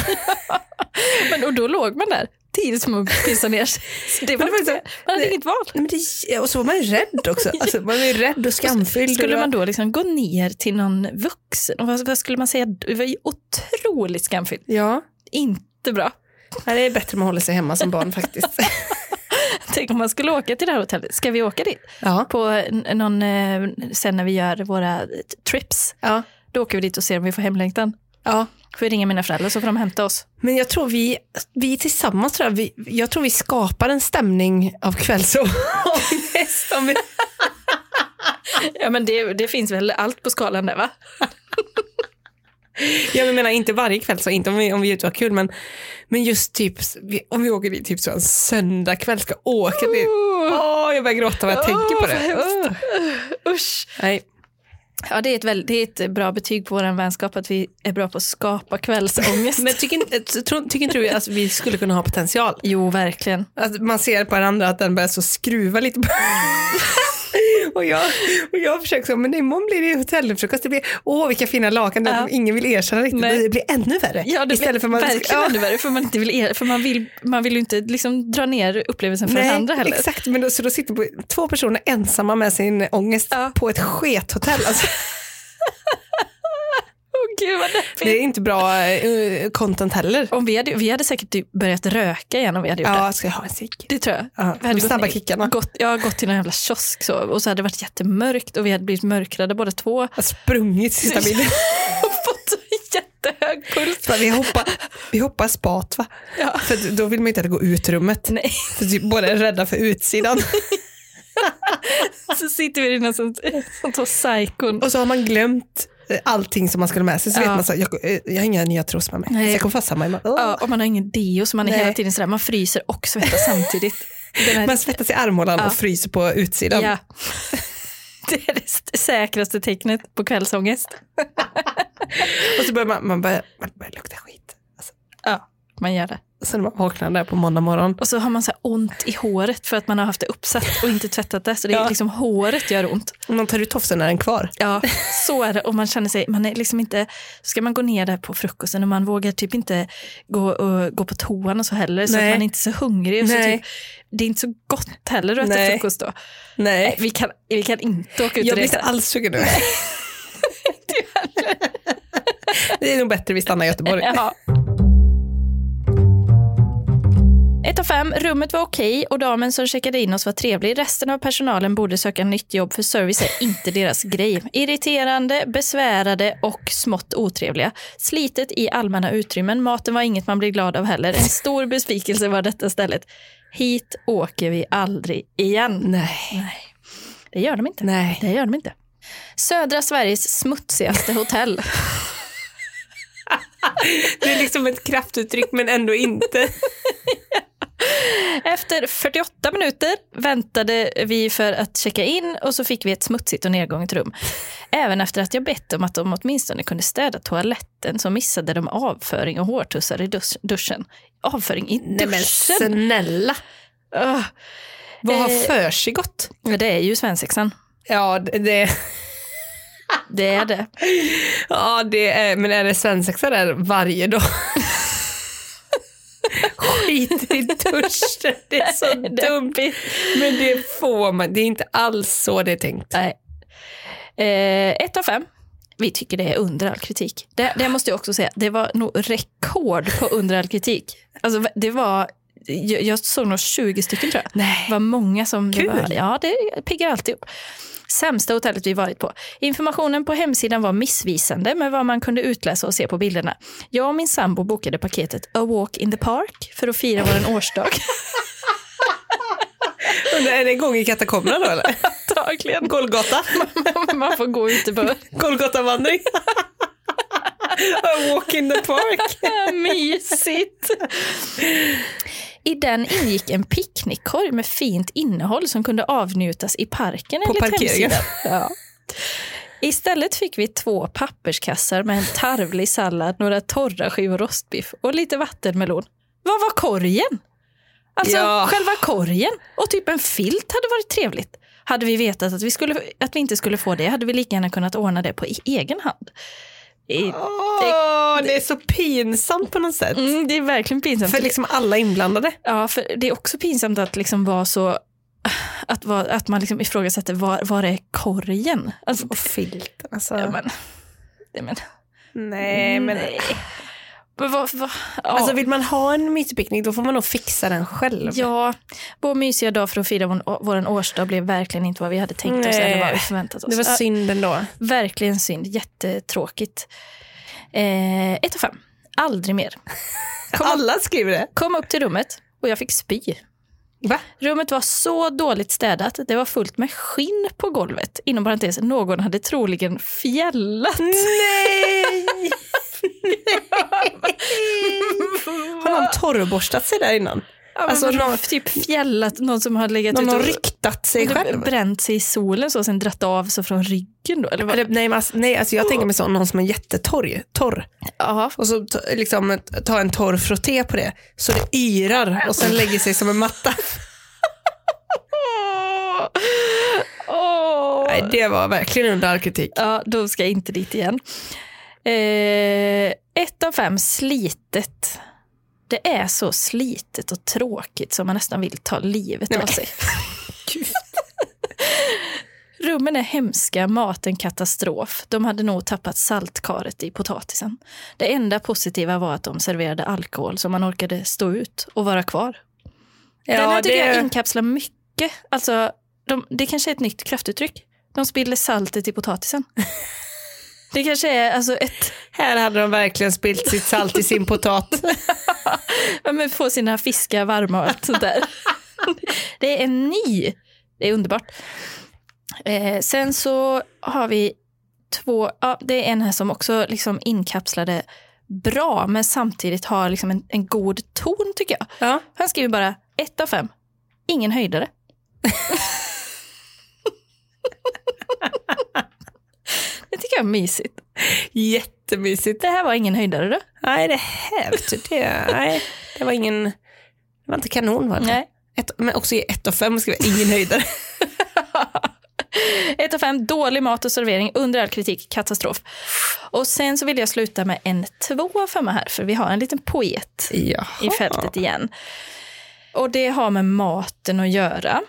[SPEAKER 1] Men, och då låg man där tills man pissade ner [LAUGHS] sig. Så Det var
[SPEAKER 3] Men det var
[SPEAKER 1] inte-
[SPEAKER 3] så-
[SPEAKER 1] man hade
[SPEAKER 3] det-
[SPEAKER 1] inget val.
[SPEAKER 3] Nej, men det, och så var man ju rädd också. Alltså, man var ju rädd och skamfylld.
[SPEAKER 1] Skulle
[SPEAKER 3] och-
[SPEAKER 1] man då liksom gå ner till någon vuxen? Och vad, vad skulle man säga? Det var ju otroligt skamfyllt.
[SPEAKER 3] Ja,
[SPEAKER 1] Inte bra. [LAUGHS]
[SPEAKER 3] Nej, det är bättre om man håller sig hemma som barn faktiskt.
[SPEAKER 1] Tänk om man skulle åka till det här hotellet. Ska vi åka dit?
[SPEAKER 3] Ja.
[SPEAKER 1] På n- någon, eh, sen när vi gör våra t- trips.
[SPEAKER 3] Ja.
[SPEAKER 1] Då åker vi dit och ser om vi får hemlängtan.
[SPEAKER 3] ja.
[SPEAKER 1] Får vi ringa mina föräldrar så får de hämta oss.
[SPEAKER 3] Men jag tror vi, vi tillsammans, tror jag, vi, jag tror vi skapar en stämning av kvällsångest. om vi-
[SPEAKER 1] Ja men det, det finns väl allt på skalan där va?
[SPEAKER 3] Jag menar inte varje kväll, så inte om vi, om vi är ute och har kul, men, men just typ vi- om vi åker dit typ så en söndagkväll ska åka dit. Åh, jag börjar gråta när jag tänker på det. Åh.
[SPEAKER 1] Usch.
[SPEAKER 3] Nej.
[SPEAKER 1] Ja det är, ett väl, det är ett bra betyg på vår vänskap att vi är bra på att skapa kvällsångest.
[SPEAKER 3] [LAUGHS] Men tycker, inte- eh, tror- tycker inte du att vi skulle kunna ha potential?
[SPEAKER 1] Jo verkligen.
[SPEAKER 3] Att man ser på den andra att den börjar så skruva lite [LAUGHS] på Och jag, och jag försöker så, men imorgon blir det hotellfrukost. Det blir, åh vilka fina lakan, det-
[SPEAKER 1] Ja,
[SPEAKER 3] ingen vill erkänna riktigt.
[SPEAKER 1] Nej.
[SPEAKER 3] Det blir ännu värre.
[SPEAKER 1] Ja, det
[SPEAKER 3] Istället för man,
[SPEAKER 1] verkligen
[SPEAKER 3] Ja.
[SPEAKER 1] ännu värre, för man, inte vill, er- för man, vill, man vill ju inte liksom dra ner upplevelsen för den andra heller.
[SPEAKER 3] Exakt, men då, så då sitter på- två personer ensamma med sin ångest på ett skethotell. Alltså,
[SPEAKER 1] [LAUGHS] Åh, gud, vad deppigt.
[SPEAKER 3] det är inte bra eh, content heller.
[SPEAKER 1] Om vi, hade, vi hade säkert typ börjat röka igen om vi hade gjort det.
[SPEAKER 3] Ja, ska jag ha en cigg?
[SPEAKER 1] Det tror jag.
[SPEAKER 3] Ja,
[SPEAKER 1] Vi hade
[SPEAKER 3] de snabba
[SPEAKER 1] gått,
[SPEAKER 3] kickarna.
[SPEAKER 1] Gått, jag har gått till någon jävla kiosk så, och så hade det varit jättemörkt och vi hade blivit mörkrädda båda två.
[SPEAKER 3] Jag har sprungit sista
[SPEAKER 1] [LAUGHS]
[SPEAKER 3] bilden.
[SPEAKER 1] och fått jättehög puls.
[SPEAKER 3] Så Vi hoppar, vi hoppar spat va?
[SPEAKER 1] Ja.
[SPEAKER 3] För att då vill man ju inte att det går ut ur rummet.
[SPEAKER 1] Nej,
[SPEAKER 3] För typ båda är rädda för
[SPEAKER 1] [LAUGHS]
[SPEAKER 3] utsidan.
[SPEAKER 1] så sitter vi i någon sånt, sånt här psykon.
[SPEAKER 3] Och så har man glömt eh, allting som man skulle ha med sig. Så
[SPEAKER 1] Ja.
[SPEAKER 3] vet man så här, jag, eh, jag har inga nya trosor med mig.
[SPEAKER 1] Nej.
[SPEAKER 3] Så jag kommer fast samma imorgon.
[SPEAKER 1] Ja, och man har ingen deo så man är
[SPEAKER 3] Nej.
[SPEAKER 1] hela tiden sådär, man fryser och svettas
[SPEAKER 3] [LAUGHS]
[SPEAKER 1] samtidigt. Den här-
[SPEAKER 3] Man svettas i armhålan
[SPEAKER 1] Ja.
[SPEAKER 3] och fryser på utsidan.
[SPEAKER 1] Ja. [LAUGHS] Det är det s- säkraste tecknet på kvällsångest.
[SPEAKER 3] Och så börjar man, man, börjar, man börjar lukta skit. Alltså,
[SPEAKER 1] Ja. Man gör det.
[SPEAKER 3] Sen man vaknar där på måndag morgon.
[SPEAKER 1] Och så har man så här ont i håret för att man har haft det uppsatt och inte tvättat det. Så det är
[SPEAKER 3] Ja.
[SPEAKER 1] liksom håret gör ont.
[SPEAKER 3] Man tar ut tofsen när den är kvar.
[SPEAKER 1] Ja, [LAUGHS] så är det. Och man känner sig, man är liksom inte, så ska man gå ner där på frukosten och man vågar typ inte gå, och, gå på toan och så heller. Så att
[SPEAKER 3] Nej.
[SPEAKER 1] man är inte är så hungrig. Och så
[SPEAKER 3] Nej.
[SPEAKER 1] typ, det är inte så gott heller att äta
[SPEAKER 3] Nej.
[SPEAKER 1] frukost då.
[SPEAKER 3] Nej.
[SPEAKER 1] Vi kan, vi kan inte åka ut
[SPEAKER 3] Jag
[SPEAKER 1] och
[SPEAKER 3] blir inte
[SPEAKER 1] resa.
[SPEAKER 3] alls sugen nu. [LAUGHS] Det är nog bättre vi stannar i Göteborg.
[SPEAKER 1] Ja. Ett av fem, rummet var okej och damen som checkade in oss var trevlig. Resten av personalen borde söka nytt jobb för service är inte
[SPEAKER 3] [LAUGHS]
[SPEAKER 1] deras grej. Irriterande, besvärade och smått otrevliga. Slitet i allmänna utrymmen. Maten var inget man blev glad av heller. En stor besvikelse var detta stället. Hit åker vi aldrig igen.
[SPEAKER 3] Nej.
[SPEAKER 1] Det gör de inte.
[SPEAKER 3] Nej.
[SPEAKER 1] Det gör de inte. Södra Sveriges smutsigaste hotell.
[SPEAKER 3] Det är liksom ett kraftuttryck men ändå inte.
[SPEAKER 1] Efter 48 minuter väntade vi för att checka in och så fick vi ett smutsigt och nedgånget rum. Även efter att jag bett om att de åtminstone kunde städa toaletten så missade de avföring och hårtussar i dus- duschen. Avföring i duschen?
[SPEAKER 3] snälla.
[SPEAKER 1] Ugh.
[SPEAKER 3] Vad har
[SPEAKER 1] Eh.
[SPEAKER 3] försiggått?
[SPEAKER 1] Ja, det är ju svensexan.
[SPEAKER 3] Ja, det- det,
[SPEAKER 1] Det är det.
[SPEAKER 3] ja det är, men är det svensexa där varje dag? [LAUGHS] Skit i duschen, det är så dumt. Men det får man, det är inte alls så det är tänkt.
[SPEAKER 1] Nej. Eh, ett av fem. Vi tycker det är under all kritik. Det, det måste jag också säga, det var nog rekord på under all kritik. Alltså, det var, jag, jag såg nog 20 stycken tror jag.
[SPEAKER 3] Nej.
[SPEAKER 1] Det var många som...
[SPEAKER 3] Kul.
[SPEAKER 1] Det var, ja, det piggar alltid upp. Sämsta hotellet vi varit på. Informationen på hemsidan var missvisande med vad man kunde utläsa och se på bilderna. Jag och min sambo bokade paketet A Walk in the Park för att fira vår årsdag. [LAUGHS]
[SPEAKER 3] Undrar, är det igång i katakomberna då eller?
[SPEAKER 1] Antagligen.
[SPEAKER 3] Golgata?
[SPEAKER 1] man får gå ute på
[SPEAKER 3] Golgatavandring? [LAUGHS] A walk in the park?
[SPEAKER 1] Mysigt! I den ingick en picknickkorg med fint innehåll som kunde avnjutas i parken
[SPEAKER 3] På
[SPEAKER 1] enligt
[SPEAKER 3] parkeringen.
[SPEAKER 1] hemsidan. Ja. Istället fick vi två papperskassar med en tarvlig sallad, några torra skivor rostbiff och lite vattenmelon. Vad var korgen? Alltså
[SPEAKER 3] Ja.
[SPEAKER 1] själva korgen och typ en filt hade varit trevligt. Hade vi vetat att vi, skulle, att vi inte skulle få det hade vi lika gärna kunnat ordna det på i- egen hand. I,
[SPEAKER 3] Åh, det är så pinsamt på något sätt.
[SPEAKER 1] mm, det är verkligen pinsamt.
[SPEAKER 3] För liksom alla inblandade.
[SPEAKER 1] Ja, för det är också pinsamt att liksom vara så att, vara, att man liksom ifrågasätter var, var är korgen? Alltså,
[SPEAKER 3] Och filten alltså.
[SPEAKER 1] ja, men, nej, men,
[SPEAKER 3] Mm. Nej men.
[SPEAKER 1] nej. Men vad, vad, ja.
[SPEAKER 3] Alltså vill man ha en myspicknick då får man nog fixa den själv.
[SPEAKER 1] ja, vår mysiga dag för att fira vår, vår årsdag blev verkligen inte vad vi hade tänkt oss
[SPEAKER 3] Nej.
[SPEAKER 1] eller vad vi förväntat oss.
[SPEAKER 3] Det var
[SPEAKER 1] Ja,
[SPEAKER 3] synd ändå.
[SPEAKER 1] verkligen synd, jättetråkigt. Eh, ett och fem, aldrig mer.
[SPEAKER 3] Alla skriver det.
[SPEAKER 1] Kom upp till rummet och jag fick spy.
[SPEAKER 3] Va?
[SPEAKER 1] Rummet var så dåligt städat. Det var fullt med skinn på golvet. Inom parentes, någon hade troligen fjällat.
[SPEAKER 3] Nej! [LAUGHS] har någon torrborstat sig där innan?
[SPEAKER 1] alltså,
[SPEAKER 3] men
[SPEAKER 1] någon, typ fjällat, någon som har legat
[SPEAKER 3] Någon
[SPEAKER 1] ute
[SPEAKER 3] har
[SPEAKER 1] och
[SPEAKER 3] ryktat sig
[SPEAKER 1] och
[SPEAKER 3] själv?
[SPEAKER 1] bränt sig i solen så, och sen dratt av sig från ryggen då? Eller vad?
[SPEAKER 3] Eller, nej, men alltså, nej alltså jag tänker mig så, någon som är jättetorr. Torr.
[SPEAKER 1] Ja.
[SPEAKER 3] Och så ta- liksom, ta en torr frotté på det så det yrar och sen lägger sig som
[SPEAKER 1] [LAUGHS]
[SPEAKER 3] en matta. Nej, det var verkligen under all kritik.
[SPEAKER 1] ja, då ska jag inte dit igen. Eh, ett av fem, slitet. Det är så slitet och tråkigt som man nästan vill ta livet av sig. Rummen är hemska, maten katastrof. De hade nog tappat saltkaret i potatisen. Det enda positiva var att de serverade alkohol så man orkade stå ut och vara kvar. Den här tycker jag inkapslar mycket. Alltså, de, det kanske är ett nytt kraftuttryck. De spiller saltet i potatisen. det kanske är alltså ett...
[SPEAKER 3] Här hade de verkligen spilt sitt salt i
[SPEAKER 1] [LAUGHS]
[SPEAKER 3] sin potat.
[SPEAKER 1] Ja, men få sina fiskar varma och allt sånt där. det är en ny. Det är underbart. Eh, sen så har vi två, ja, det är en här som också liksom inkapslade bra men samtidigt har liksom en, en god ton tycker jag.
[SPEAKER 3] Ja.
[SPEAKER 1] Han skriver bara ett av fem, ingen höjdare. det tycker jag är mysigt.
[SPEAKER 5] Jättemysigt.
[SPEAKER 1] Det här var ingen höjdare då?
[SPEAKER 3] Nej, det hävde det. Nej, det var ingen... Det var inte kanon var det?
[SPEAKER 1] Nej.
[SPEAKER 3] Ett, men också i 1 av 5 ska vi
[SPEAKER 1] [LAUGHS]
[SPEAKER 3] ingen höjdare.
[SPEAKER 1] 1 av 5, dålig mat och servering, under all kritik, katastrof. Och sen så vill jag sluta med en 2 av 5 här, för vi har en liten poet
[SPEAKER 3] Jaha.
[SPEAKER 1] i fältet igen. Och det har med maten att göra.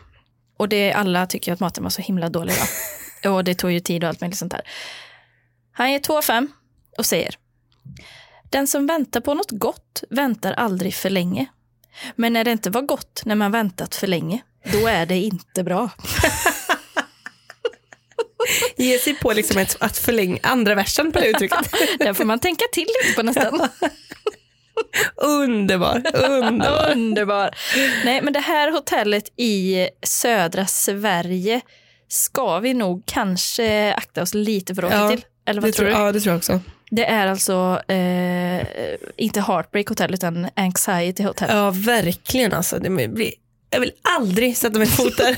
[SPEAKER 1] Och det alla tycker ju att maten var så himla dålig då. Och det tog ju tid och allt möjligt sånt där. Han ger 2 av 5 och säger. Den som väntar på något gott väntar aldrig för länge. Men när det inte var gott när man väntat för länge, då är det inte bra.
[SPEAKER 3] Ge sig på liksom ett, att förlänga andra versen på det
[SPEAKER 1] [LAUGHS]
[SPEAKER 3] uttrycket.
[SPEAKER 1] Där får man tänka till lite på nästan.
[SPEAKER 3] Underbar, underbar.
[SPEAKER 1] Underbar. Nej, men det här hotellet i södra Sverige ska vi nog kanske akta oss lite för att åka
[SPEAKER 3] Ja,
[SPEAKER 1] till. Eller
[SPEAKER 3] Det
[SPEAKER 1] vad tror du?
[SPEAKER 3] Ja, det tror jag också.
[SPEAKER 1] Det är alltså eh, inte Heartbreak Hotel utan Anxiety Hotel.
[SPEAKER 3] Ja, verkligen alltså. Det blir, jag vill aldrig sätta min
[SPEAKER 1] [LAUGHS]
[SPEAKER 3] fot där.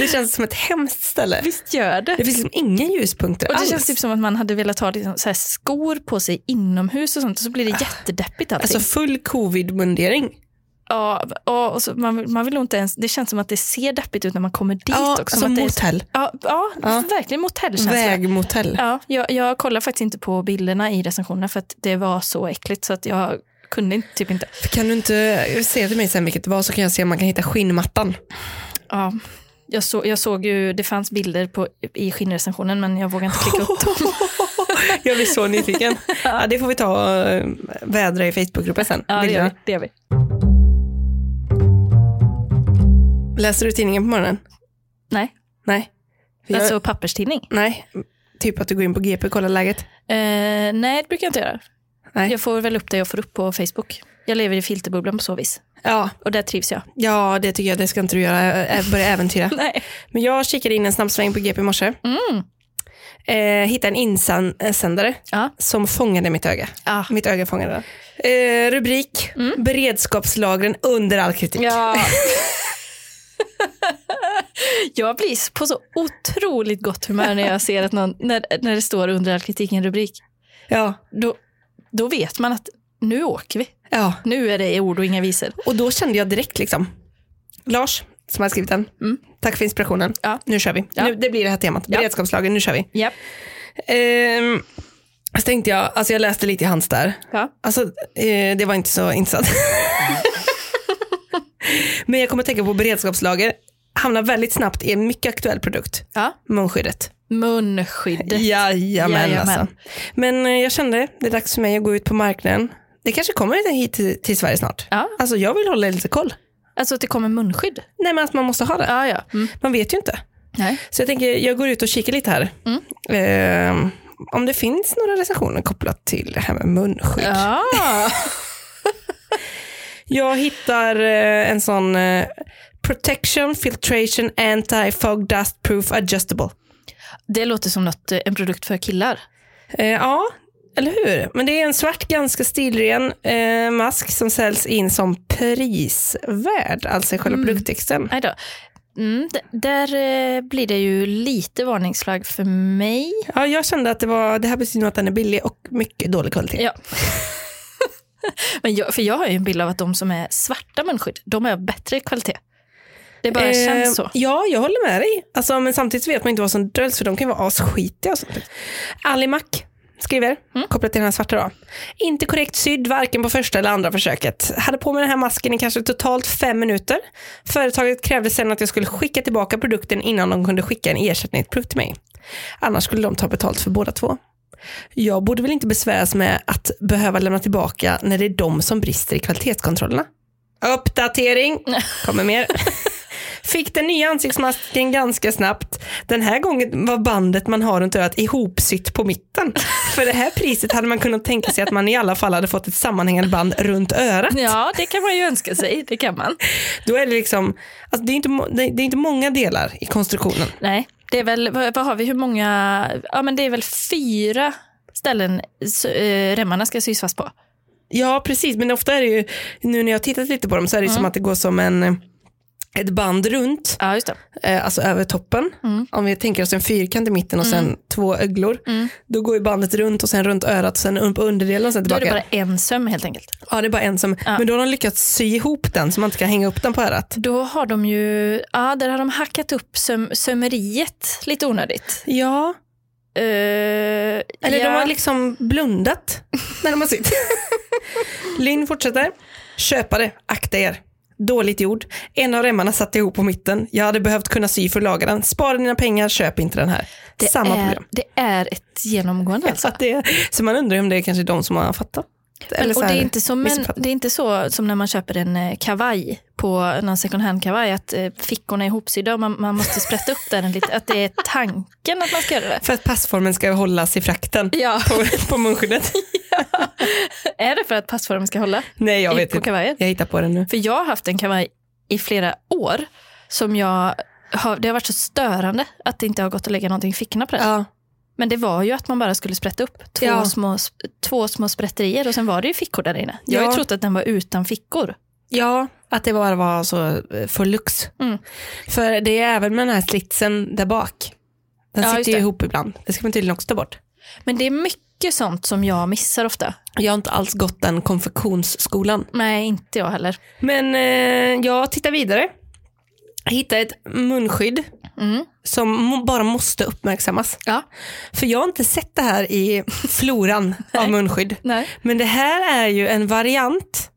[SPEAKER 3] det känns som ett hemskt ställe.
[SPEAKER 1] Visst gör det.
[SPEAKER 3] Det finns liksom inga ljuspunkter
[SPEAKER 1] Och det
[SPEAKER 3] alls.
[SPEAKER 1] känns typ som att man hade velat ha liksom så här skor på sig inomhus och sånt och så blir det jättedeppigt allting.
[SPEAKER 3] Ah. Alltså full covid-mundering.
[SPEAKER 1] ja, och och så man, man vill nog inte ens, det känns som att det ser deppigt ut när man kommer dit
[SPEAKER 3] Ja,
[SPEAKER 1] också.
[SPEAKER 3] som
[SPEAKER 1] att det är-
[SPEAKER 3] motell.
[SPEAKER 1] Ja, ja,
[SPEAKER 3] Ja.
[SPEAKER 1] verkligen motellkänsla.
[SPEAKER 3] Vägmotell.
[SPEAKER 1] Ja, jag, jag kollar faktiskt inte på bilderna i recensionerna för att det var så äckligt så att jag kunde inte- typ inte.
[SPEAKER 3] Kan du inte säga till mig sen vilket det var så kan jag se om man kan hitta skinnmattan.
[SPEAKER 1] Ja, jag, så, jag såg ju, det fanns bilder på, i skinnrecensionen men jag vågade inte klicka upp dem.
[SPEAKER 3] Jag blir så nyfiken. Ja, det får vi ta och eh, vädra i Facebookgruppen sen.
[SPEAKER 1] [LAUGHS] Ja, det gör
[SPEAKER 3] Bilderna.
[SPEAKER 1] vi. Det gör vi.
[SPEAKER 3] Läser du tidningen på morgonen?
[SPEAKER 1] Nej,
[SPEAKER 3] Nej. För jag-
[SPEAKER 1] alltså papperstidning.
[SPEAKER 3] nej. Typ att du går in på GP och kollar läget.
[SPEAKER 1] Eh, nej, det brukar jag inte göra.
[SPEAKER 3] Nej.
[SPEAKER 1] Jag får väl upp det jag får upp på Facebook. Jag lever i filterbubblan på så vis.
[SPEAKER 3] Ja,
[SPEAKER 1] Och där trivs jag.
[SPEAKER 3] ja, det tycker jag. Det ska inte du göra. Ä-
[SPEAKER 1] [LAUGHS]
[SPEAKER 3] Börja äventyra.
[SPEAKER 1] Nej.
[SPEAKER 3] Men jag kikade in en snabb sväng på GP i morse.
[SPEAKER 1] Mm.
[SPEAKER 3] Eh, hittade en insändare
[SPEAKER 1] Ja.
[SPEAKER 3] som fångade mitt öga.
[SPEAKER 1] Ja.
[SPEAKER 3] Mitt öga fångade den. Eh, rubrik, beredskapslagren under all kritik.
[SPEAKER 1] Mm. Ja. [LAUGHS] jag blir på så otroligt gott humör när jag ser att någon, när, när det står under all kritik i en rubrik.
[SPEAKER 3] Ja.
[SPEAKER 1] Då, då vet man att nu åker vi.
[SPEAKER 3] ja.
[SPEAKER 1] Nu är det ord och inga visor.
[SPEAKER 3] Och då kände jag direkt liksom, Lars som har skrivit den, tack för inspirationen.
[SPEAKER 1] Mm. Ja.
[SPEAKER 3] Nu kör vi.
[SPEAKER 1] Ja.
[SPEAKER 3] Nu, det blir det här temat,
[SPEAKER 1] Ja.
[SPEAKER 3] beredskapslagen, nu kör vi.
[SPEAKER 1] Ja.
[SPEAKER 3] Ehm, så tänkte jag, alltså jag läste lite i hans där.
[SPEAKER 1] Ja.
[SPEAKER 3] Alltså, eh, det var inte
[SPEAKER 1] [LAUGHS]
[SPEAKER 3] så intressant. Men jag kommer att tänka på beredskapslager, hamnar väldigt snabbt i en mycket aktuell produkt,
[SPEAKER 1] ja.
[SPEAKER 3] munskyddet.
[SPEAKER 1] Munskyddet.
[SPEAKER 3] Jajamän,
[SPEAKER 1] Jajamän.
[SPEAKER 3] alltså. Men eh, jag kände, det är dags för mig att gå ut på marknaden. Det kanske kommer lite hit till, till Sverige snart.
[SPEAKER 1] Ja.
[SPEAKER 3] Alltså jag vill hålla lite koll.
[SPEAKER 1] Alltså att det kommer munskydd.
[SPEAKER 3] Nej men att man måste ha det.
[SPEAKER 1] Ja, ja. Mm.
[SPEAKER 3] Man vet ju inte.
[SPEAKER 1] Nej.
[SPEAKER 3] Så jag tänker, jag går ut och kikar lite här.
[SPEAKER 1] Mm.
[SPEAKER 3] Eh, om det finns några recensioner kopplat till det här med munskydd.
[SPEAKER 1] Ja. [LAUGHS]
[SPEAKER 3] Jag hittar eh, en sån eh, Protection Filtration Anti-Fog Dust Proof Adjustable.
[SPEAKER 1] Det låter som något, eh, en produkt för killar.
[SPEAKER 3] Eh, ja, eller hur? Men det är en svart, ganska stilren eh, mask som säljs in som prisvärd, alltså i själva produkttexten.
[SPEAKER 1] Nej då. Mm, d- där eh, blir det ju lite varningsflagg för mig.
[SPEAKER 3] Ja, jag kände att det, var, det här betyder att den är billig och mycket dålig kvalitet.
[SPEAKER 1] Ja. [LAUGHS] Men jag, för jag har ju en bild av att de som är svarta munskydd, de är av bättre kvalitet. Det bara känns så.
[SPEAKER 3] Ehm, Ja, jag håller med dig. Alltså, men samtidigt vet man inte vad som döljs för de kan ju vara asskitiga. Och sånt. Ali Mac skriver,
[SPEAKER 1] Mm.
[SPEAKER 3] kopplat till den här svarta då. Inte korrekt sydd varken på första eller andra försöket. Hade på mig den här masken i kanske totalt fem minuter. Företaget krävde sen att jag skulle skicka tillbaka produkten innan de kunde skicka en ersättningsprodukt till mig. Annars skulle de ta betalt för båda två. Jag borde väl inte besväras med att behöva lämna tillbaka när det är de som brister i kvalitetskontrollerna. Uppdatering! Kommer mer. Fick den nya ansiktsmasken ganska snabbt. Den här gången var bandet man har runt örat ihopsytt på mitten. För det här priset hade man kunnat tänka sig att man i alla fall hade fått ett sammanhängande band runt örat.
[SPEAKER 1] Ja, det kan man ju önska sig. Det kan man.
[SPEAKER 3] Då är det liksom, alltså det, är inte, må- det det är inte många delar i konstruktionen.
[SPEAKER 1] Nej, det är väl, vad, vad har vi, hur många, ja men det är väl fyra ställen s- eh, remmarna ska sys fast på.
[SPEAKER 3] Ja, precis. Men ofta är det ju, nu när jag har tittat lite på dem så är det ju som att det går som en ett band runt,
[SPEAKER 1] Ja, just det.
[SPEAKER 3] eh, alltså över toppen.
[SPEAKER 1] Mm.
[SPEAKER 3] Om vi tänker oss en fyrkant i mitten och sen två öglor.
[SPEAKER 1] Mm.
[SPEAKER 3] Då går ju bandet runt och sen runt örat och sen upp på underdelen och sen
[SPEAKER 1] Då är
[SPEAKER 3] tillbaka.
[SPEAKER 1] det bara en söm helt enkelt.
[SPEAKER 3] Ja, det är bara en som, Men då har de lyckats sy ihop den så man inte kan hänga upp den på örat.
[SPEAKER 1] Då har de ju, ja där har de hackat upp söm, sömeriet lite onödigt.
[SPEAKER 3] Ja,
[SPEAKER 1] Eh,
[SPEAKER 3] eller
[SPEAKER 1] ja.
[SPEAKER 3] de har liksom blundat när de
[SPEAKER 1] [LAUGHS]
[SPEAKER 3] har sytt. Linn fortsätter. Köpare, akta er. Dåligt gjord. En av remmarna satt ihop på mitten. Jag hade behövt kunna sy för att laga den. Spara dina pengar, köp inte den här.
[SPEAKER 1] det
[SPEAKER 3] Samma
[SPEAKER 1] är,
[SPEAKER 3] problem.
[SPEAKER 1] Det är ett genomgående
[SPEAKER 3] [LAUGHS] Så,
[SPEAKER 1] alltså.
[SPEAKER 3] att det, så man undrar om det är kanske de som har fattat. Eller
[SPEAKER 1] Men,
[SPEAKER 3] så
[SPEAKER 1] och det,
[SPEAKER 3] här,
[SPEAKER 1] är inte som en,
[SPEAKER 3] missuppfattat.
[SPEAKER 1] det är inte så som när man köper en eh, kavaj på någon second hand-kavaj, att eh, fickorna är ihopsydda och man, man måste sprätta upp där en lite. Att det är tanken att man ska göra det.
[SPEAKER 3] För att passformen ska hållas i frakten
[SPEAKER 1] Ja.
[SPEAKER 3] på, [LAUGHS] på munskyddet.
[SPEAKER 1] [LAUGHS] Är det för att passformen ska hålla
[SPEAKER 3] Nej, jag
[SPEAKER 1] i-
[SPEAKER 3] vet
[SPEAKER 1] på
[SPEAKER 3] inte.
[SPEAKER 1] kavajen?
[SPEAKER 3] Jag hittar på den nu.
[SPEAKER 1] För jag har haft en kavaj i flera år som jag har, det har varit så störande att det inte har gått att lägga någonting i fickorna på den.
[SPEAKER 3] Ja.
[SPEAKER 1] Men det var ju att man bara skulle sprätta upp två,
[SPEAKER 3] Ja.
[SPEAKER 1] små, två små sprätterier och sen var det ju fickor där inne. Jag har ju
[SPEAKER 3] Ja.
[SPEAKER 1] trott att den var utan fickor.
[SPEAKER 3] Ja, att det bara var så eh, för lux.
[SPEAKER 1] Mm.
[SPEAKER 3] För det är även med den här slitsen där bak. Den
[SPEAKER 1] Ja, just
[SPEAKER 3] sitter
[SPEAKER 1] det.
[SPEAKER 3] ju ihop ibland. Det ska man tydligen också ta bort.
[SPEAKER 1] Men det är mycket sånt som jag missar ofta.
[SPEAKER 3] Jag har inte alls gått den konfektionsskolan.
[SPEAKER 1] Nej, inte jag heller.
[SPEAKER 3] Men eh, jag tittar vidare. Jag hittar ett munskydd
[SPEAKER 1] Mm.
[SPEAKER 3] som mo- bara måste uppmärksammas.
[SPEAKER 1] Ja.
[SPEAKER 3] För jag har inte sett det här i floran av munskydd.
[SPEAKER 1] [LAUGHS] Nej.
[SPEAKER 3] Men det här är ju en variant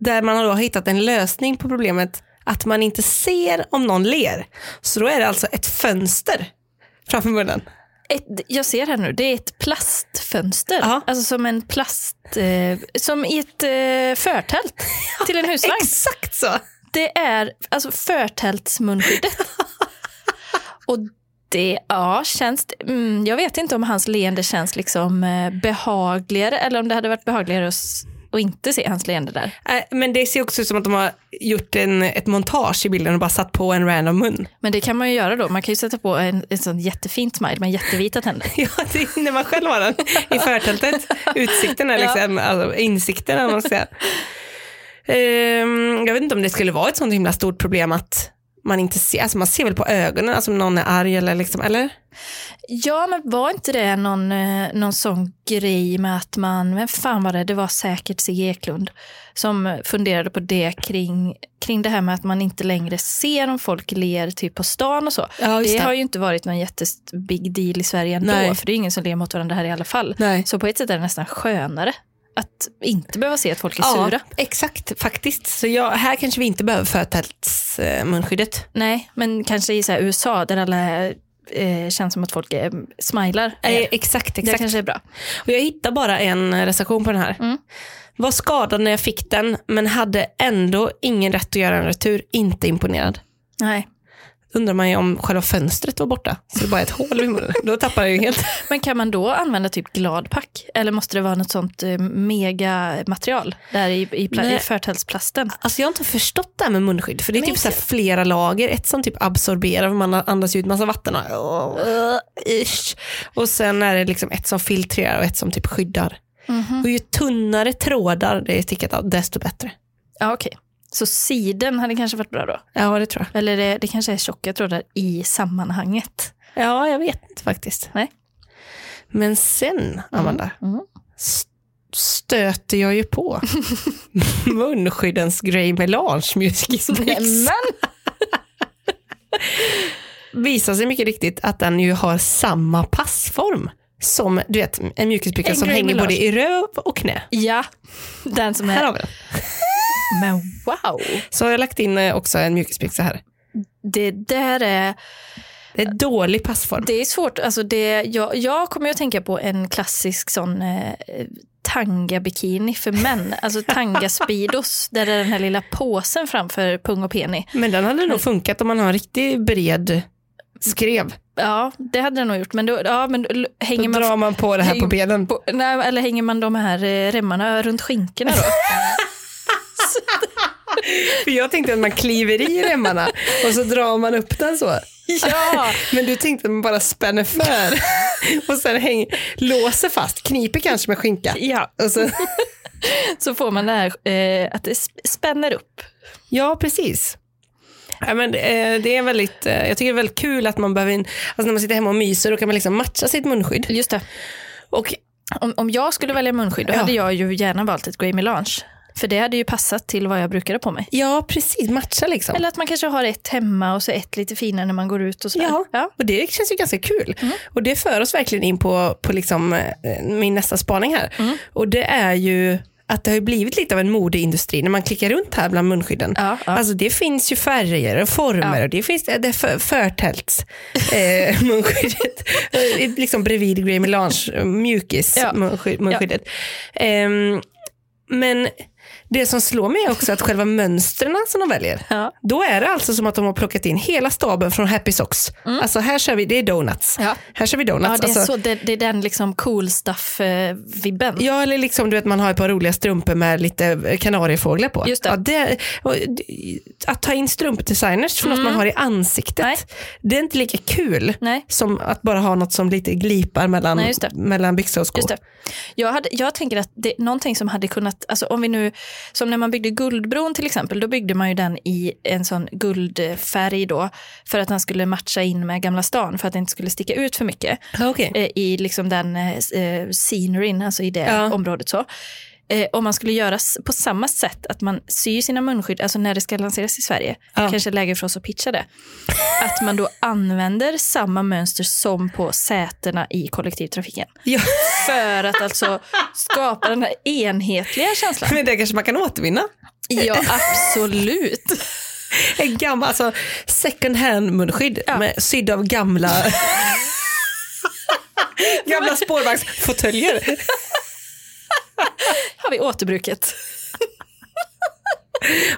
[SPEAKER 3] där man då har hittat en lösning på problemet att man inte ser om någon ler. Så då är det alltså ett fönster framför munnen.
[SPEAKER 1] Ett, jag ser här nu, det är ett plastfönster.
[SPEAKER 3] Ja.
[SPEAKER 1] Alltså som en plast... Eh, som i ett eh, [LAUGHS] förtält till en husvagn.
[SPEAKER 3] Exakt så!
[SPEAKER 1] Det är alltså förtältsmunskyddet. [LAUGHS] Och det, ja, känns, det- mm, jag vet inte om hans leende känns liksom eh, behagligare eller om det hade varit behagligare att, s- att inte se hans leende där.
[SPEAKER 3] Äh, Men det ser också ut som att de har gjort en, ett montage i bilden och bara satt på en random mun.
[SPEAKER 1] Men det kan man ju göra då. Man kan ju sätta på en, en sån jättefin smile med jättevita tänder.
[SPEAKER 3] [LAUGHS] Ja, det är när man själv har den i förtältet. Utsikten är liksom, alltså insikten eller vad man ska säga. Ehm, jag vet inte om det skulle vara ett sånt himla stort problem att man inte ser, alltså man ser väl på ögonen, alltså om någon är arg eller liksom, eller?
[SPEAKER 1] Ja, men var inte det någon, eh, någon sån grej med att man, vem fan var det, det var säkert Sigge Eklund som funderade på det kring, kring det här med att man inte längre ser om folk ler typ på stan och så.
[SPEAKER 3] Ja,
[SPEAKER 1] det, har ju inte varit någon jättebig deal i Sverige ändå,
[SPEAKER 3] Nej.
[SPEAKER 1] för det är ingen som ler mot varandra här i alla fall.
[SPEAKER 3] Nej.
[SPEAKER 1] Så på ett sätt är det nästan skönare att inte behöva se att folk är
[SPEAKER 3] Ja,
[SPEAKER 1] sura.
[SPEAKER 3] exakt faktiskt. Så jag, här kanske vi inte behöver förtältsmunskyddet.
[SPEAKER 1] Nej, men kanske i så här USA där alla eh, känns som att folk eh, smilar.
[SPEAKER 3] Eh,
[SPEAKER 1] mer.
[SPEAKER 3] exakt,
[SPEAKER 1] det
[SPEAKER 3] exakt.
[SPEAKER 1] kanske är bra.
[SPEAKER 3] Och jag hittade bara en recension på den här.
[SPEAKER 1] Mm.
[SPEAKER 3] Var skadad när jag fick den, men hade ändå ingen rätt att göra en retur. Inte imponerad.
[SPEAKER 1] Nej.
[SPEAKER 3] undrar man ju om själva fönstret var borta. Så det bara är ett hål i munnen. Då tappar jag ju helt.
[SPEAKER 1] Men kan man då använda typ gladpack? Eller måste det vara något sånt eh, megamaterial där i, i, pla-
[SPEAKER 3] Nej.
[SPEAKER 1] i förtältsplasten?
[SPEAKER 3] Alltså jag har inte förstått det här med munskydd. För det är
[SPEAKER 1] Men
[SPEAKER 3] typ så här flera lager. Ett som typ absorberar, för man andas ut massa vatten. Och, ish. och sen är det liksom ett som filtrerar och ett som typ skyddar. Och ju tunnare trådar det är stickat av, desto bättre.
[SPEAKER 1] Ja, okej. Så siden hade kanske varit bra då?
[SPEAKER 3] Ja, det tror jag.
[SPEAKER 1] Eller det, det kanske är tjocka trådar i sammanhanget?
[SPEAKER 3] Ja, jag vet inte faktiskt.
[SPEAKER 1] Nej.
[SPEAKER 3] Men sen, Amanda,
[SPEAKER 1] mhm.
[SPEAKER 3] s- stöter jag
[SPEAKER 1] [LAUGHS]
[SPEAKER 3] ju på munskyddens Grey Melange Music Mix. [LAUGHS] Visar sig mycket riktigt att den ju har samma passform som du vet, en mjukisbyxa
[SPEAKER 1] En
[SPEAKER 3] som
[SPEAKER 1] Grey
[SPEAKER 3] hänger
[SPEAKER 1] Melange.
[SPEAKER 3] både i röv och knä.
[SPEAKER 1] Ja, [LAUGHS] den som
[SPEAKER 3] Här
[SPEAKER 1] är...
[SPEAKER 3] har vi den.
[SPEAKER 1] Men wow!
[SPEAKER 3] Så har jag lagt in eh, också en mjukisbyxa här.
[SPEAKER 1] Det där är...
[SPEAKER 3] Det är dålig passform.
[SPEAKER 1] Det är svårt. Alltså det, jag, jag kommer ju att tänka på en klassisk sån eh, tanga-bikini för män. Alltså tanga-speedos, där det är den här lilla påsen framför pung och peni.
[SPEAKER 3] Men den hade nog funkat om man har en riktigt bred skrev.
[SPEAKER 1] Ja, det hade den nog gjort. Men, då, ja, men l-
[SPEAKER 3] Då
[SPEAKER 1] hänger man...
[SPEAKER 3] drar man på det här på
[SPEAKER 1] häng-
[SPEAKER 3] benen.
[SPEAKER 1] på- nej, eller hänger man de här eh, remmarna runt skinkorna
[SPEAKER 3] [LAUGHS]
[SPEAKER 1] då?
[SPEAKER 3] För jag tänkte att man kliver i remmarna och så drar man upp den så.
[SPEAKER 1] [LAUGHS] ja!
[SPEAKER 3] Men du tänkte att man bara spänner för [LAUGHS] och sen häng, låser fast, kniper kanske med skinka.
[SPEAKER 1] ja!
[SPEAKER 3] Och så,
[SPEAKER 1] Så får man det här eh, att det sp- spänner upp.
[SPEAKER 3] ja, precis. Ja, men, eh, det är väldigt, eh, jag tycker det är väldigt kul att man behöver, en, alltså när man sitter hemma och myser, då kan man liksom matcha sitt munskydd.
[SPEAKER 1] Just det.
[SPEAKER 3] Och
[SPEAKER 1] Om, om jag skulle välja munskydd, då
[SPEAKER 3] Ja.
[SPEAKER 1] hade jag ju gärna valt ett Grey Melange. För det hade ju passat till vad jag brukade på mig.
[SPEAKER 3] ja, precis, matcha liksom.
[SPEAKER 1] Eller att man kanske har ett hemma och så ett lite finare när man går ut och sådär.
[SPEAKER 3] Ja.
[SPEAKER 1] Ja. Mm.
[SPEAKER 3] Och det känns ju ganska kul. Och det för oss verkligen in på, på liksom, eh, min nästa spaning här.
[SPEAKER 1] Mm.
[SPEAKER 3] Och det är ju att det har ju blivit lite av en modeindustri när man klickar runt här bland munskydden.
[SPEAKER 1] Ja, ja.
[SPEAKER 3] Alltså det finns ju färger och former
[SPEAKER 1] Ja.
[SPEAKER 3] och det finns eh, det för, förtälts eh, [LAUGHS] munskyddet. Eh, liksom bredvid Grey Melange eh, mjukis
[SPEAKER 1] Ja.
[SPEAKER 3] munsky- munskyddet. Ehm, men det som slår mig är också att själva mönstren som de väljer,
[SPEAKER 1] Ja.
[SPEAKER 3] då är det alltså som att de har plockat in hela staben från Happy Socks. Alltså här kör vi, det är donuts.
[SPEAKER 1] Mm. Ja.
[SPEAKER 3] Här kör vi donuts.
[SPEAKER 1] Ja, det, är
[SPEAKER 3] alltså,
[SPEAKER 1] så, det, det är den liksom cool eh, stuff-vibben.
[SPEAKER 3] Ja, eller liksom du vet man har ett par roliga strumpor med lite eh, kanariefåglar på.
[SPEAKER 1] Just det.
[SPEAKER 3] Ja, det och, d- att ta in strumpdesigners för något man har i ansiktet,
[SPEAKER 1] Mm. Nej.
[SPEAKER 3] det är inte lika kul
[SPEAKER 1] Nej.
[SPEAKER 3] som att bara ha något som lite glipar mellan,
[SPEAKER 1] Nej, just det.
[SPEAKER 3] mellan byxor och skor.
[SPEAKER 1] Just det. Jag, hade, jag tänker att det, någonting som hade kunnat, alltså om vi nu, som när man byggde Guldbron till exempel, då byggde man ju den i en sån guldfärg då, för att den skulle matcha in med Gamla stan, för att det inte skulle sticka ut för mycket
[SPEAKER 3] Ja, okej.
[SPEAKER 1] eh, i liksom den eh, sceneryn, alltså i det
[SPEAKER 3] Ja.
[SPEAKER 1] området så. Eh, om man skulle göra s- på samma sätt, att man syr sina munskydd, alltså när det ska lanseras i Sverige,
[SPEAKER 3] Ja.
[SPEAKER 1] kanske läge för oss att pitcha det, att man då använder samma mönster som på sätena i kollektivtrafiken.
[SPEAKER 3] Ja, [LAUGHS]
[SPEAKER 1] För att alltså skapa den här enhetliga känslan.
[SPEAKER 3] men det kanske man kan återvinna.
[SPEAKER 1] [LAUGHS] Ja, absolut.
[SPEAKER 3] En gammal, alltså second hand munskydd med sydd av gamla
[SPEAKER 1] [LAUGHS]
[SPEAKER 3] gamla spårvagnsfåtöljer.
[SPEAKER 1] Har vi återbruket.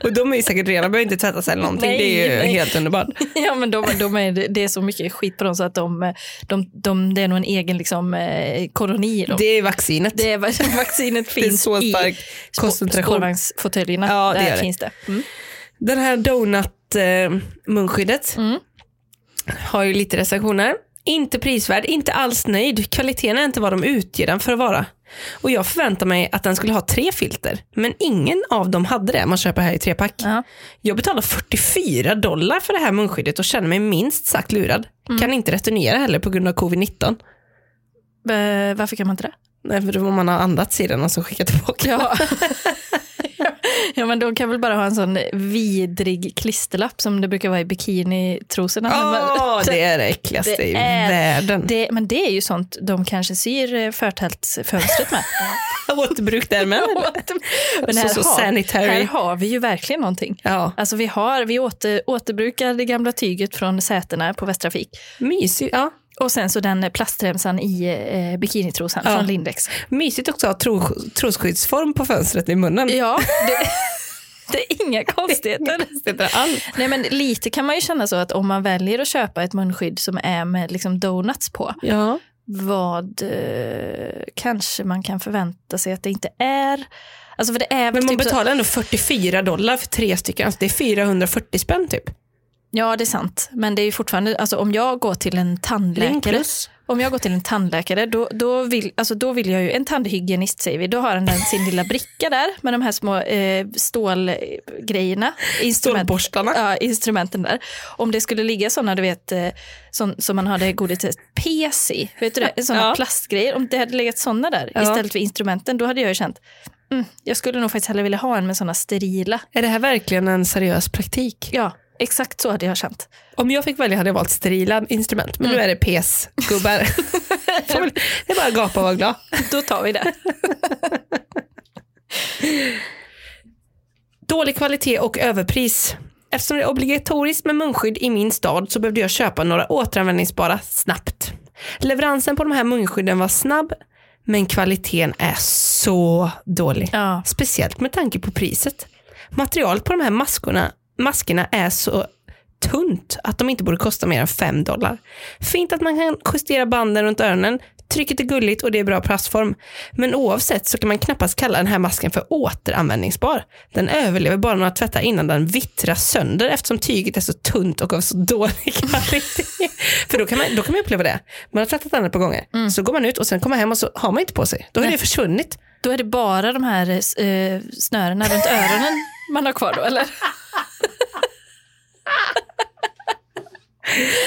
[SPEAKER 3] Och de är ju säkert rena, behöver inte tvättas eller någonting.
[SPEAKER 1] Nej,
[SPEAKER 3] det är ju
[SPEAKER 1] nej.
[SPEAKER 3] helt underbart.
[SPEAKER 1] Ja, men de, de är, det är så mycket skit på dem så att de, de, de, det är nog en egen liksom, eh, koloni i dem.
[SPEAKER 3] Det är vaccinet.
[SPEAKER 1] Det är, vad- [LAUGHS] vaccinet
[SPEAKER 3] Det är
[SPEAKER 1] finns
[SPEAKER 3] så
[SPEAKER 1] i
[SPEAKER 3] stark koncentration.
[SPEAKER 1] spårvagnsfåtöljerna.
[SPEAKER 3] Ja, det
[SPEAKER 1] Där
[SPEAKER 3] gör det.
[SPEAKER 1] finns det. Mm.
[SPEAKER 3] Den här donut-munskyddet
[SPEAKER 1] Mm.
[SPEAKER 3] har ju lite recensioner. Inte prisvärd, inte alls nöjd. Kvaliteten är inte vad de utger den för att vara. Och jag förväntar mig att den skulle ha tre filter, men ingen av dem hade det. Man köper här i trepack.
[SPEAKER 1] Ja.
[SPEAKER 3] Jag betalar 44 dollar för det här munskyddet och känner mig minst sagt lurad.
[SPEAKER 1] Mm.
[SPEAKER 3] Kan inte returnera heller på grund av covid-19.
[SPEAKER 1] Eh, Varför kan man inte det?
[SPEAKER 3] Nej, för då om man har andats i den och så skickat tillbaka.
[SPEAKER 1] [LAUGHS] Ja. ja, men de kan väl bara ha en sån vidrig klisterlapp som det brukar vara i bikinitrosorna. när man-
[SPEAKER 3] Åh, det är det äckligaste
[SPEAKER 1] Det
[SPEAKER 3] i
[SPEAKER 1] är-
[SPEAKER 3] världen.
[SPEAKER 1] Det, men det är ju sånt de kanske syr eh, förtältsfönstret
[SPEAKER 3] [LAUGHS]
[SPEAKER 1] med. [LAUGHS]
[SPEAKER 3] Återbruk där med.
[SPEAKER 1] men här,
[SPEAKER 3] Så- så
[SPEAKER 1] har,
[SPEAKER 3] sanitary.
[SPEAKER 1] här har vi ju verkligen någonting.
[SPEAKER 3] Ja,
[SPEAKER 1] Alltså vi, har, vi åter, återbrukar det gamla tyget från sätena på Västtrafik.
[SPEAKER 3] mysigt. Ja.
[SPEAKER 1] Och sen så den eh, plastremsan i eh, bikinitrosan
[SPEAKER 3] Ja.
[SPEAKER 1] från Lindex.
[SPEAKER 3] Mysigt också att ha tro, trosskyddsform på fönstret i munnen.
[SPEAKER 1] Ja, det, [LAUGHS] det är inga
[SPEAKER 3] [LAUGHS]
[SPEAKER 1] konstigheter.
[SPEAKER 3] Det är all.
[SPEAKER 1] Nej men lite kan man ju känna så att om man väljer att köpa ett munskydd som är med liksom donuts på,
[SPEAKER 3] Ja.
[SPEAKER 1] vad eh, kanske man kan förvänta sig att det inte är. Alltså för det är väl
[SPEAKER 3] Men man
[SPEAKER 1] typ så-
[SPEAKER 3] betalar ändå 44 dollar för tre stycken. Alltså det är 440 spänn typ.
[SPEAKER 1] Ja, det är sant. Men det är ju fortfarande, alltså om jag går till en tandläkare,
[SPEAKER 3] Plus.
[SPEAKER 1] om jag går till en tandläkare då, då, vill, alltså, då vill jag ju, en tandhygienist säger vi, då har han den, sin lilla bricka där med de här små eh,
[SPEAKER 3] [LAUGHS]
[SPEAKER 1] stålgrejerna, instrument,
[SPEAKER 3] Stålborstarna.
[SPEAKER 1] ja, instrumenten där. Om det skulle ligga sådana, du vet, eh, som, som man har det godiset pes i, vet du det, sådana
[SPEAKER 3] Ja.
[SPEAKER 1] plastgrejer, om det hade legat sådana där
[SPEAKER 3] Ja.
[SPEAKER 1] istället för instrumenten, då hade jag ju känt, mm, jag skulle nog faktiskt hellre vilja ha en med sådana sterila.
[SPEAKER 3] Är det här verkligen en seriös praktik?
[SPEAKER 1] Ja, exakt så hade jag känt.
[SPEAKER 3] Om jag fick välja hade jag valt sterila instrument. Men nu är det PS-gubbar. Får väl- det är bara att gapa och vara glad.
[SPEAKER 1] [LAUGHS] Då tar vi det.
[SPEAKER 3] Dålig kvalitet och överpris. Eftersom det är obligatoriskt med munskydd i min stad så behövde jag köpa några återanvändningsbara snabbt. Leveransen på de här munskydden var snabb, men kvaliteten är så dålig.
[SPEAKER 1] Ja.
[SPEAKER 3] Speciellt med tanke på priset. Materialet på de här maskorna, maskerna är så tunt att de inte borde kosta mer än 5 dollar. Fint att man kan justera banden runt öronen, trycket är gulligt och det är bra plastform. Men oavsett så kan man knappast kalla den här masken för återanvändningsbar. Den överlever bara några tvättar innan den vittrar sönder eftersom tyget är så tunt och av så dålig [LAUGHS] kvalitet. för då kan, man, då kan man uppleva det. Man har tvättat den ett par gånger, så går man ut och sen kommer man hem och så har man inte på sig. Då har det försvunnit.
[SPEAKER 1] Då är det bara de här eh, snörena runt öronen man har kvar då, eller?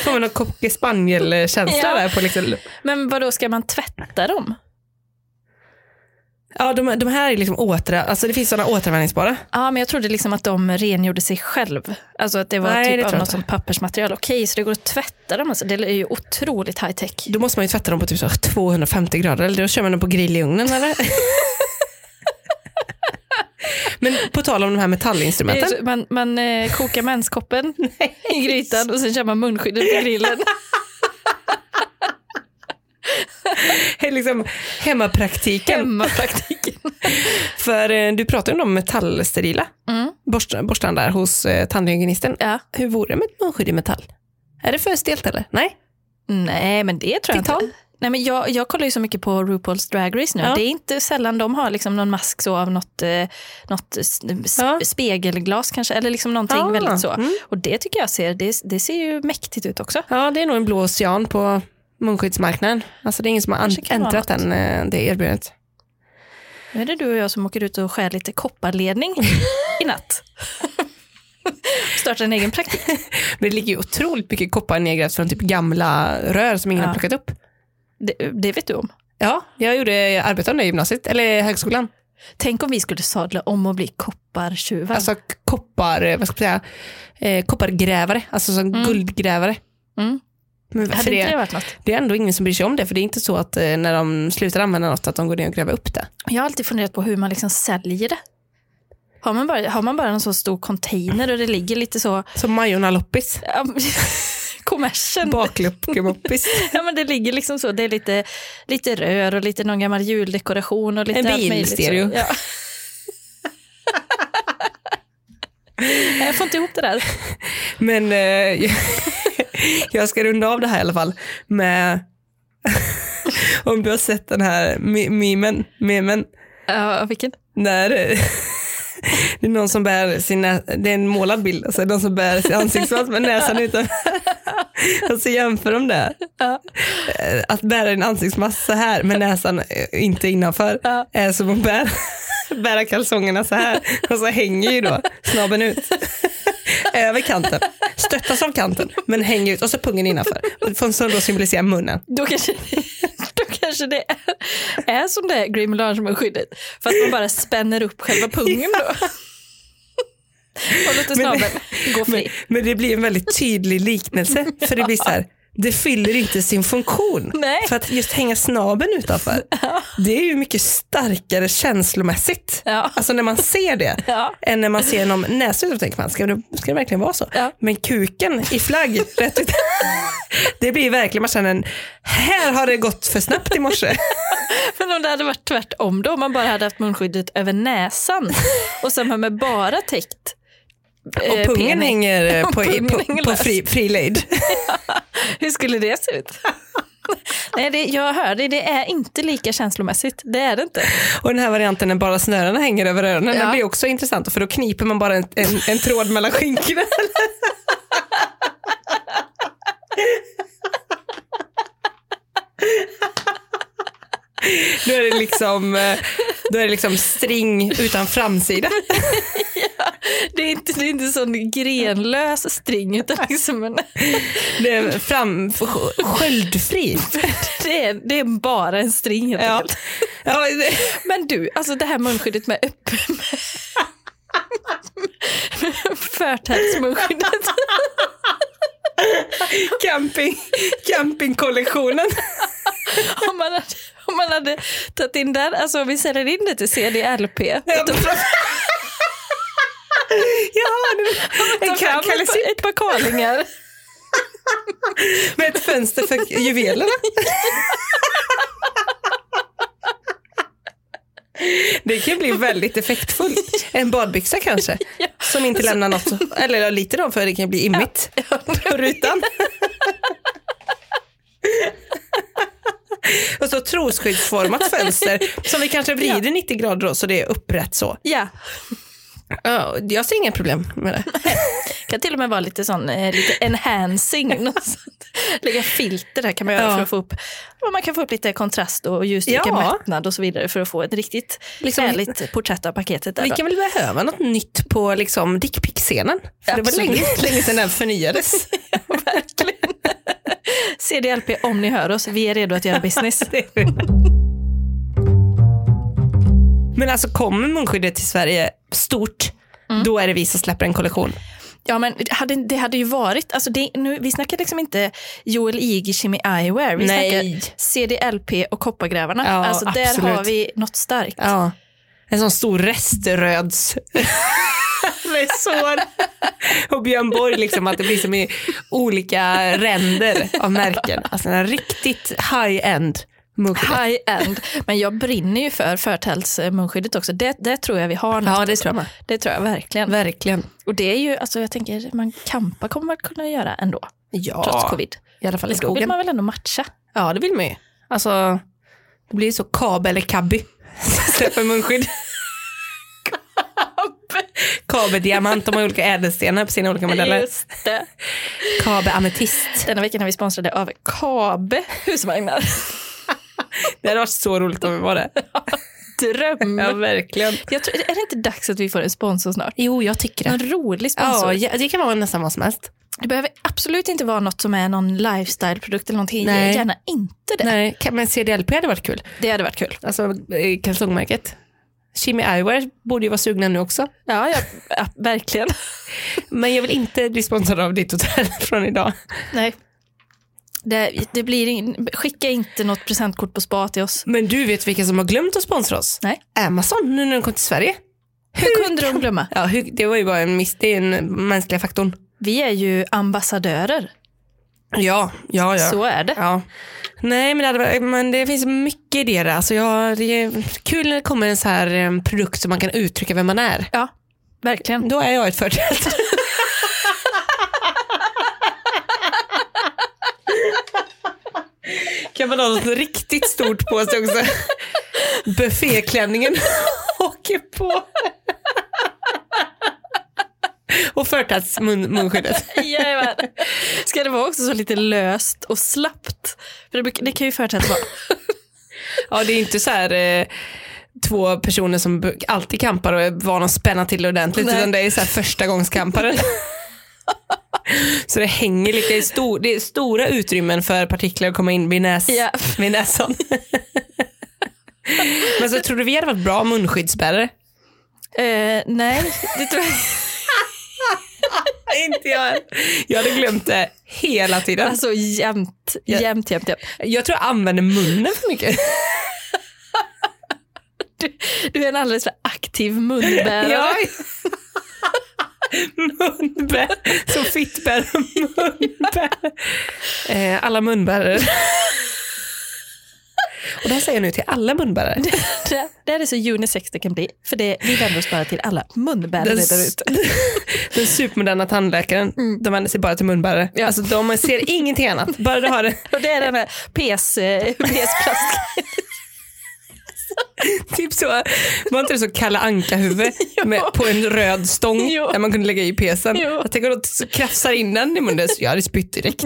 [SPEAKER 3] Får man någon cocker spaniel-känsla
[SPEAKER 1] Ja.
[SPEAKER 3] där på liksom.
[SPEAKER 1] Men vad då ska man tvätta dem?
[SPEAKER 3] Ja, de, de här är liksom åter, alltså det finns sådana återanvändningsbara.
[SPEAKER 1] Ja, men jag trodde liksom att de rengjorde sig själv. Alltså att det var
[SPEAKER 3] Nej, det
[SPEAKER 1] typ
[SPEAKER 3] tror
[SPEAKER 1] av
[SPEAKER 3] jag
[SPEAKER 1] något
[SPEAKER 3] inte.
[SPEAKER 1] sånt pappersmaterial. Okej, så det går att tvätta dem. Alltså, det är ju otroligt high tech.
[SPEAKER 3] Då måste man ju tvätta dem på typ så 250 grader eller då kör man dem på grill i ugnen [LAUGHS] eller? Men på tal om de
[SPEAKER 1] Det
[SPEAKER 3] här
[SPEAKER 1] är
[SPEAKER 3] metallinstrumenten.
[SPEAKER 1] så- Man, man eh, kokar [LAUGHS] menskoppen i grytan och sen kör man munskyddet på [LAUGHS] grillen.
[SPEAKER 3] He- liksom hemmapraktiken.
[SPEAKER 1] Hemmapraktiken.
[SPEAKER 3] För eh, du pratar ju om de metallsterila
[SPEAKER 1] Mm.
[SPEAKER 3] borst, borstan där hos eh, tandhygienisten.
[SPEAKER 1] [LAUGHS] Ja.
[SPEAKER 3] Hur vore det med ett munskydd i metall? Är det för stelt eller? Nej.
[SPEAKER 1] Nej, men det tror jag
[SPEAKER 3] Titan?
[SPEAKER 1] inte. Nej, men jag, jag kollar ju så mycket på RuPaul's Drag Race nu.
[SPEAKER 3] Ja.
[SPEAKER 1] Det är inte sällan de har liksom någon mask så av något, eh, något s- s-
[SPEAKER 3] Ja.
[SPEAKER 1] spegelglas kanske, eller liksom någonting
[SPEAKER 3] Ah,
[SPEAKER 1] väldigt så.
[SPEAKER 3] mm.
[SPEAKER 1] Och det tycker jag ser, det, det ser ju mäktigt ut också.
[SPEAKER 3] Ja, det är nog en blå ocean på munskyddsmarknaden. Alltså det är ingen som har an-
[SPEAKER 1] Kanske kan vara
[SPEAKER 3] äntrat
[SPEAKER 1] något.
[SPEAKER 3] den, eh, det erbjudandet.
[SPEAKER 1] Nu är det du och jag som åker ut och skär lite kopparledning i natt. Startar en egen praktik.
[SPEAKER 3] Men det ligger ju otroligt mycket koppar nedgrävt från typ gamla rör som ingen
[SPEAKER 1] Ja.
[SPEAKER 3] har plockat upp.
[SPEAKER 1] Det, det vet du om.
[SPEAKER 3] Ja, jag gjorde jag arbetade om det i gymnasiet, eller högskolan.
[SPEAKER 1] Tänk om vi skulle sadla om och bli koppartjuvar.
[SPEAKER 3] Alltså k- koppar, eh, vad ska man säga, eh, koppargrävare, alltså som guldgrävare.
[SPEAKER 1] Mm.
[SPEAKER 3] Men för
[SPEAKER 1] Hade inte det
[SPEAKER 3] det,
[SPEAKER 1] varit något?
[SPEAKER 3] det är ändå ingen som bryr sig om det, för det är inte så att eh, när de slutar använda något att de går ner och gräver upp det.
[SPEAKER 1] Jag har alltid funderat på hur man liksom säljer det. Har man, bara, har man bara en så stor container och det ligger lite så...
[SPEAKER 3] Som
[SPEAKER 1] [LAUGHS]
[SPEAKER 3] Majorna loppis,
[SPEAKER 1] ja, men- Kommersen.
[SPEAKER 3] bakluckemoppis.
[SPEAKER 1] [LAUGHS] Ja, men det ligger liksom så. Det är lite, lite rör och lite någon gammal juldekoration. Och lite
[SPEAKER 3] En
[SPEAKER 1] allt möjligt så.
[SPEAKER 3] bilstereo. [LAUGHS]
[SPEAKER 1] Ja. Nej, Jag får inte ihop det där.
[SPEAKER 3] Men eh, [LAUGHS] jag ska runda av det här i alla fall med [LAUGHS] om du har sett den här me- memen, memen
[SPEAKER 1] Ja, vilken?
[SPEAKER 3] när eh, [LAUGHS] det är någon som bär sin nä- det är en målad bild, alltså någon som bär sin ansiktsmask med näsan [LAUGHS] utanför. Alltså jämför de det.
[SPEAKER 1] Ja.
[SPEAKER 3] Eh, Att bära en ansiktsmask så här med näsan eh, inte innanför
[SPEAKER 1] Ja.
[SPEAKER 3] är som att bära, [LAUGHS] bära kalsongerna så här och så hänger ju då snabben ut. [LAUGHS] Över kanten, stöttas av kanten men hänger ut och så pungen innanför. För- Som då symboliserar munnen.
[SPEAKER 1] Då kanske, [LAUGHS] då kanske det är, är som det är Grim Large-skyddet. Fast man bara spänner upp själva pungen då. [LAUGHS] Och låter
[SPEAKER 3] Men-
[SPEAKER 1] snabeln gå
[SPEAKER 3] Men,
[SPEAKER 1] fri.
[SPEAKER 3] men det blir en väldigt tydlig liknelse. För det blir så här, det fyller inte sin funktion.
[SPEAKER 1] Nej.
[SPEAKER 3] För att just hänga snaben
[SPEAKER 1] [LAUGHS]
[SPEAKER 3] utanför, det är ju mycket starkare känslomässigt.
[SPEAKER 1] Ja.
[SPEAKER 3] Alltså när man ser det.
[SPEAKER 1] Ja.
[SPEAKER 3] Än när man ser någon näsa ut och tänker man, ska det, ska det verkligen vara så?
[SPEAKER 1] Ja.
[SPEAKER 3] Men kuken i flagg, rätt ut. [LAUGHS] Det blir verkligen, man känner en, här har det gått för snabbt
[SPEAKER 1] [LAUGHS]
[SPEAKER 3] i morse.
[SPEAKER 1] Men om det hade varit tvärtom då, om man bara hade haft munskyddet över näsan och sen har man bara täckt eh,
[SPEAKER 3] Och pungen
[SPEAKER 1] penis.
[SPEAKER 3] hänger eh,
[SPEAKER 1] Och
[SPEAKER 3] på,
[SPEAKER 1] [LAUGHS]
[SPEAKER 3] i-
[SPEAKER 1] pungen hänger
[SPEAKER 3] på, på
[SPEAKER 1] lös.
[SPEAKER 3] fri, fri lejd.
[SPEAKER 1] Hur skulle det se ut? [LAUGHS] Nej, det, jag hör dig, det är inte lika känslomässigt. Det är det inte.
[SPEAKER 3] Och den här varianten när bara snörena hänger över öronen,
[SPEAKER 1] Ja.
[SPEAKER 3] den blir också intressant för då kniper man bara en, en, en tråd mellan skinkorna. Då är, det liksom, eh, då är det liksom string utan framsida.
[SPEAKER 1] Det är inte, det är inte sån grenlös string, utan liksom en, [LAUGHS]
[SPEAKER 3] Det är fram, sköldfri.
[SPEAKER 1] det, är, det är bara en string helt
[SPEAKER 3] Ja.
[SPEAKER 1] enkelt.
[SPEAKER 3] Ja, det-
[SPEAKER 1] Men du, alltså det här munskyddet med öppen... [LAUGHS] Förtärsmunskyddet.
[SPEAKER 3] camping,
[SPEAKER 1] [LAUGHS]
[SPEAKER 3] campingkollektionen.
[SPEAKER 1] Om man hade, om man hade tagit in den, alltså om vi säljer in det till CD-LP.
[SPEAKER 3] Ja, det- en
[SPEAKER 1] fram
[SPEAKER 3] Kalle
[SPEAKER 1] ett, par- ett par karlingar.
[SPEAKER 3] Med ett fönster för juvelerna. Det kan bli väldigt effektfullt. En badbyxa kanske, som inte lämnar något, eller ja, lite då, för det kan bli immigt på rutan. Och så trosskyddsformat fönster som vi kanske vrider 90 grader då, så det är upprätt så.
[SPEAKER 1] Ja,
[SPEAKER 3] Ja, Jag ser inga problem med det.
[SPEAKER 1] kan till och med vara lite sån, eh, lite
[SPEAKER 3] [LAUGHS]
[SPEAKER 1] enhancing. något sånt. Lägga filter där kan man göra
[SPEAKER 3] Ja.
[SPEAKER 1] för att få upp, och man kan få upp lite kontrast och ljusstyrka,
[SPEAKER 3] Ja.
[SPEAKER 1] mättnad och så vidare för att få ett riktigt
[SPEAKER 3] Liksom-
[SPEAKER 1] härligt porträtt av paketet. Där
[SPEAKER 3] Vi
[SPEAKER 1] då.
[SPEAKER 3] kan väl behöva något nytt på liksom dickpic-scenen. För det var
[SPEAKER 1] Absolut.
[SPEAKER 3] länge, länge sedan den [LAUGHS] förnyades.
[SPEAKER 1] [LAUGHS] CDLP, om ni hör oss, vi är redo att göra business.
[SPEAKER 3] Men alltså kommer munskyddet till Sverige stort, då är det vi som släpper en kollektion.
[SPEAKER 1] Ja, men det hade, det hade ju varit, alltså det, nu, vi snackar liksom inte Joel Igishim i Eyewear, vi
[SPEAKER 3] Nej.
[SPEAKER 1] snackar CDLP och Koppargrävarna.
[SPEAKER 3] Ja,
[SPEAKER 1] alltså där
[SPEAKER 3] absolut.
[SPEAKER 1] har vi något starkt.
[SPEAKER 3] Ja. En sån stor reströds [LAUGHS] med sår. Och Björn Borg, liksom, att det blir som i olika ränder av märken. Alltså en riktigt high-end munkskyddet.
[SPEAKER 1] High-end. Men jag brinner ju för förtältsmunskyddet också. Det, det tror jag vi har något.
[SPEAKER 3] Ja, det tror jag med.
[SPEAKER 1] Det tror jag verkligen.
[SPEAKER 3] Verkligen.
[SPEAKER 1] Och det är ju, alltså jag tänker, man kampa kommer man kunna göra ändå, trots
[SPEAKER 3] Ja,
[SPEAKER 1] covid.
[SPEAKER 3] i alla fall i
[SPEAKER 1] Men då vill
[SPEAKER 3] skogen.
[SPEAKER 1] man väl ändå matcha?
[SPEAKER 3] Ja, det vill man ju. Alltså, det blir ju så kabel eller [LAUGHS] kabby. Släpper munskydd. Kabeldiamant, de har olika ädelstenar på sina olika modeller.
[SPEAKER 1] Just det.
[SPEAKER 3] Kabeametist.
[SPEAKER 1] Denna veckan har vi sponsrade av Kabe
[SPEAKER 3] [LAUGHS]
[SPEAKER 1] husvagnar.
[SPEAKER 3] Det hade varit så roligt om vi var det.
[SPEAKER 1] Dröm.
[SPEAKER 3] Ja, verkligen.
[SPEAKER 1] Jag tror, är det inte dags att vi får en sponsor snart?
[SPEAKER 3] Jo, jag tycker det.
[SPEAKER 1] En rolig sponsor.
[SPEAKER 3] Ja, ja, det kan vara nästan vad som helst.
[SPEAKER 1] Det behöver absolut inte vara något som är någon lifestyle-produkt eller någonting.
[SPEAKER 3] Nej.
[SPEAKER 1] Gärna inte det.
[SPEAKER 3] Nej, kan- men CDLP hade varit kul.
[SPEAKER 1] Det hade varit kul.
[SPEAKER 3] Alltså eh, kalsongmärket. Kimi Eyewear borde ju vara sugna nu också.
[SPEAKER 1] Ja, jag, ja verkligen.
[SPEAKER 3] Men jag vill inte bli sponsrad av ditt hotell [LAUGHS] från idag.
[SPEAKER 1] Nej. Det, det blir in, skicka inte något presentkort på spa till oss.
[SPEAKER 3] Men du vet vilka som har glömt att sponsra oss?
[SPEAKER 1] Nej.
[SPEAKER 3] Amazon, nu när de kom till Sverige.
[SPEAKER 1] Hur kunde de glömma?
[SPEAKER 3] Ja, hur- det var ju bara en miss, det är den mänskliga faktorn.
[SPEAKER 1] Vi är ju ambassadörer.
[SPEAKER 3] Ja, ja, ja.
[SPEAKER 1] Så är det.
[SPEAKER 3] ja. Nej, men det, hade, varit- men det finns mycket i det. där. Alltså jag, det är kul när det kommer en så här eh, produkt som man kan uttrycka vem man är.
[SPEAKER 1] Ja, verkligen.
[SPEAKER 3] Då är jag ett förtält. [LAUGHS] kan man ha något riktigt stort på sig också? [LAUGHS] Bufféklänningen [LAUGHS] åker på. Och förtältsmunskyddet.
[SPEAKER 1] Jajamän. Ska det vara också så lite löst och slappt? För det, brukar- det kan ju företaget vara.
[SPEAKER 3] Ja, det är inte så här eh, två personer som bu- alltid kampar och är vana att spänna till ordentligt,
[SPEAKER 1] Nej.
[SPEAKER 3] utan det är så här
[SPEAKER 1] [LAUGHS]
[SPEAKER 3] första gångskamparen. så det hänger lite, det är, stor, det är stora utrymmen för partiklar att komma in vid, näs,
[SPEAKER 1] Ja.
[SPEAKER 3] vid näsan. Men så tror du vi hade varit bra munskyddsbärare?
[SPEAKER 1] Eh, nej, det tror jag
[SPEAKER 3] inte jag Jag hade glömt det hela tiden.
[SPEAKER 1] Alltså jämt,
[SPEAKER 3] Ja.
[SPEAKER 1] jämt, jämt, jämt.
[SPEAKER 3] jag tror jag använder munnen för mycket.
[SPEAKER 1] Du, du är en alldeles för aktiv munbärare.
[SPEAKER 3] Ja. [LAUGHS] munbär. Så fittbär och munbär. Eh, alla munbärare. Och det här säger jag nu till alla munbärare.
[SPEAKER 1] [LAUGHS] Det, det här är så unisex det kan bli. För det, vi vänder oss bara till alla munbärare
[SPEAKER 3] Den,
[SPEAKER 1] där ute.
[SPEAKER 3] [LAUGHS] den supermoderna tandläkaren,
[SPEAKER 1] Mm.
[SPEAKER 3] de vänder sig bara till munbärare. Alltså de ser ingenting annat. Bara du har det.
[SPEAKER 1] Och det är den här PS, eh, [LAUGHS] PS-plast.
[SPEAKER 3] [LAUGHS] Typ så, var inte det så
[SPEAKER 1] [LAUGHS]
[SPEAKER 3] Kalle Anka-huvud med, på en röd stång
[SPEAKER 1] Jo.
[SPEAKER 3] där man kunde lägga i pesen?
[SPEAKER 1] Jo.
[SPEAKER 3] Jag tänker att de så krafsar in den i munnen så jag hade spytt direkt.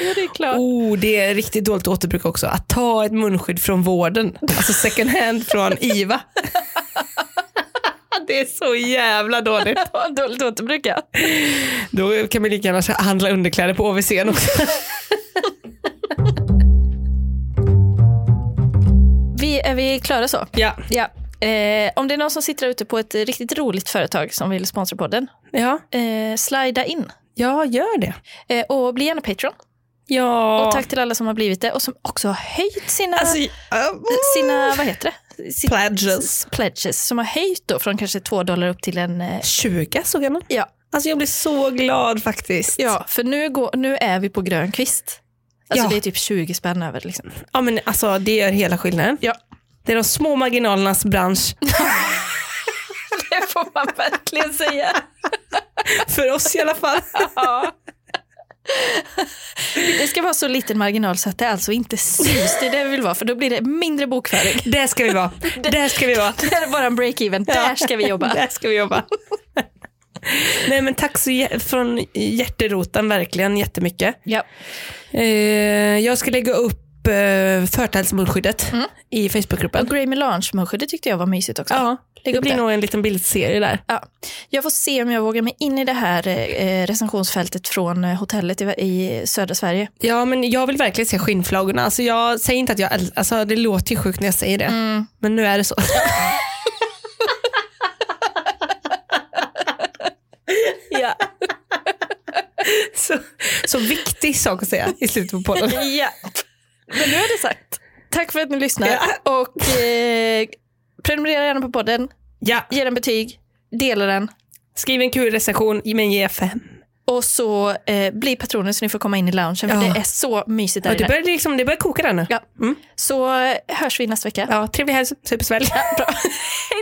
[SPEAKER 1] ja, det är klart.
[SPEAKER 3] Oh, det är riktigt dåligt återbruk också. Att ta ett munskydd från vården, alltså second hand från [LAUGHS] IVA. Det är så jävla dåligt.
[SPEAKER 1] Vad dåligt återbruk ja.
[SPEAKER 3] Då kan man lika gärna handla underkläder på OVC också.
[SPEAKER 1] Vi Är vi klara så?
[SPEAKER 3] Ja.
[SPEAKER 1] Ja. Eh, om det är någon som sitter där ute på ett eh, riktigt roligt företag som vill sponsra podden,
[SPEAKER 3] Ja.
[SPEAKER 1] eh, slida in.
[SPEAKER 3] ja, gör det.
[SPEAKER 1] Eh, och bli gärna Patreon.
[SPEAKER 3] Ja.
[SPEAKER 1] Och tack till alla som har blivit det och som också har höjt sina...
[SPEAKER 3] Alltså,
[SPEAKER 1] sina, vad heter det? Sitt-
[SPEAKER 3] Pledges.
[SPEAKER 1] Pledges som har höjt då från kanske två dollar upp till en... eh,
[SPEAKER 3] 20 såg jag nu.
[SPEAKER 1] Ja,
[SPEAKER 3] Alltså jag blir så glad faktiskt.
[SPEAKER 1] ja för nu, går, nu är vi på grön kvist. Alltså
[SPEAKER 3] Ja.
[SPEAKER 1] det är typ 20 spänn över liksom.
[SPEAKER 3] Ja men alltså det gör hela skillnaden.
[SPEAKER 1] Ja.
[SPEAKER 3] Det är de små marginalernas [LAUGHS] bransch.
[SPEAKER 1] [LAUGHS] Det får man verkligen säga.
[SPEAKER 3] För oss i alla fall.
[SPEAKER 1] Det ska vara så liten marginal så att det alltså inte syns. Det är det vi vill vara för då blir det mindre bokföring. [LAUGHS]
[SPEAKER 3] Där ska vi vara. Där ska vi vara. [LAUGHS]
[SPEAKER 1] Det här är bara en break-even. Där ska vi jobba.
[SPEAKER 3] Där ska vi jobba. [LAUGHS] Nej men tack så jä- från hjärteroten verkligen jättemycket.
[SPEAKER 1] [LAUGHS] Ja.
[SPEAKER 3] Eh, jag ska lägga upp eh, förtalsmordskyddet
[SPEAKER 1] Mm.
[SPEAKER 3] i Facebookgruppen.
[SPEAKER 1] Och Grey Melange-munskyddet tyckte jag var mysigt också.
[SPEAKER 3] Ja,
[SPEAKER 1] Lägg
[SPEAKER 3] det
[SPEAKER 1] upp
[SPEAKER 3] blir
[SPEAKER 1] det.
[SPEAKER 3] nog en liten bildserie där.
[SPEAKER 1] Ja. Jag får se om jag vågar mig in i det här eh, recensionsfältet från eh, hotellet i, i södra Sverige.
[SPEAKER 3] Ja, men jag vill verkligen se skinnflagorna. Alltså, jag säger inte att jag äl- alltså, det låter ju sjukt när jag säger det.
[SPEAKER 1] Mm.
[SPEAKER 3] Men nu är det så.
[SPEAKER 1] [LAUGHS] Ja.
[SPEAKER 3] [LAUGHS] så. Så viktig sak att säga i slutet på podden.
[SPEAKER 1] [LAUGHS] ja. Men nu är det sagt. Tack för att ni lyssnar. Och eh, prenumerera gärna på podden,
[SPEAKER 3] Ja,
[SPEAKER 1] ge den betyg, dela den
[SPEAKER 3] skriv en kul recension, men ge fem.
[SPEAKER 1] och så eh, bli patroner så ni får komma in i loungen för
[SPEAKER 3] Ja.
[SPEAKER 1] det är så mysigt där
[SPEAKER 3] Ja, det,
[SPEAKER 1] inne.
[SPEAKER 3] börjar liksom, det börjar koka där nu.
[SPEAKER 1] Ja. Så eh, hörs vi nästa vecka.
[SPEAKER 3] Ja, trevlig helg, supersväll.
[SPEAKER 1] Hej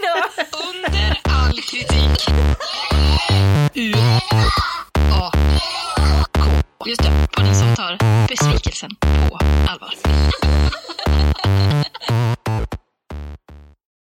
[SPEAKER 1] då!
[SPEAKER 4] Under all kritik. U A K. Just det, podden som tar besvikelsen på allvar.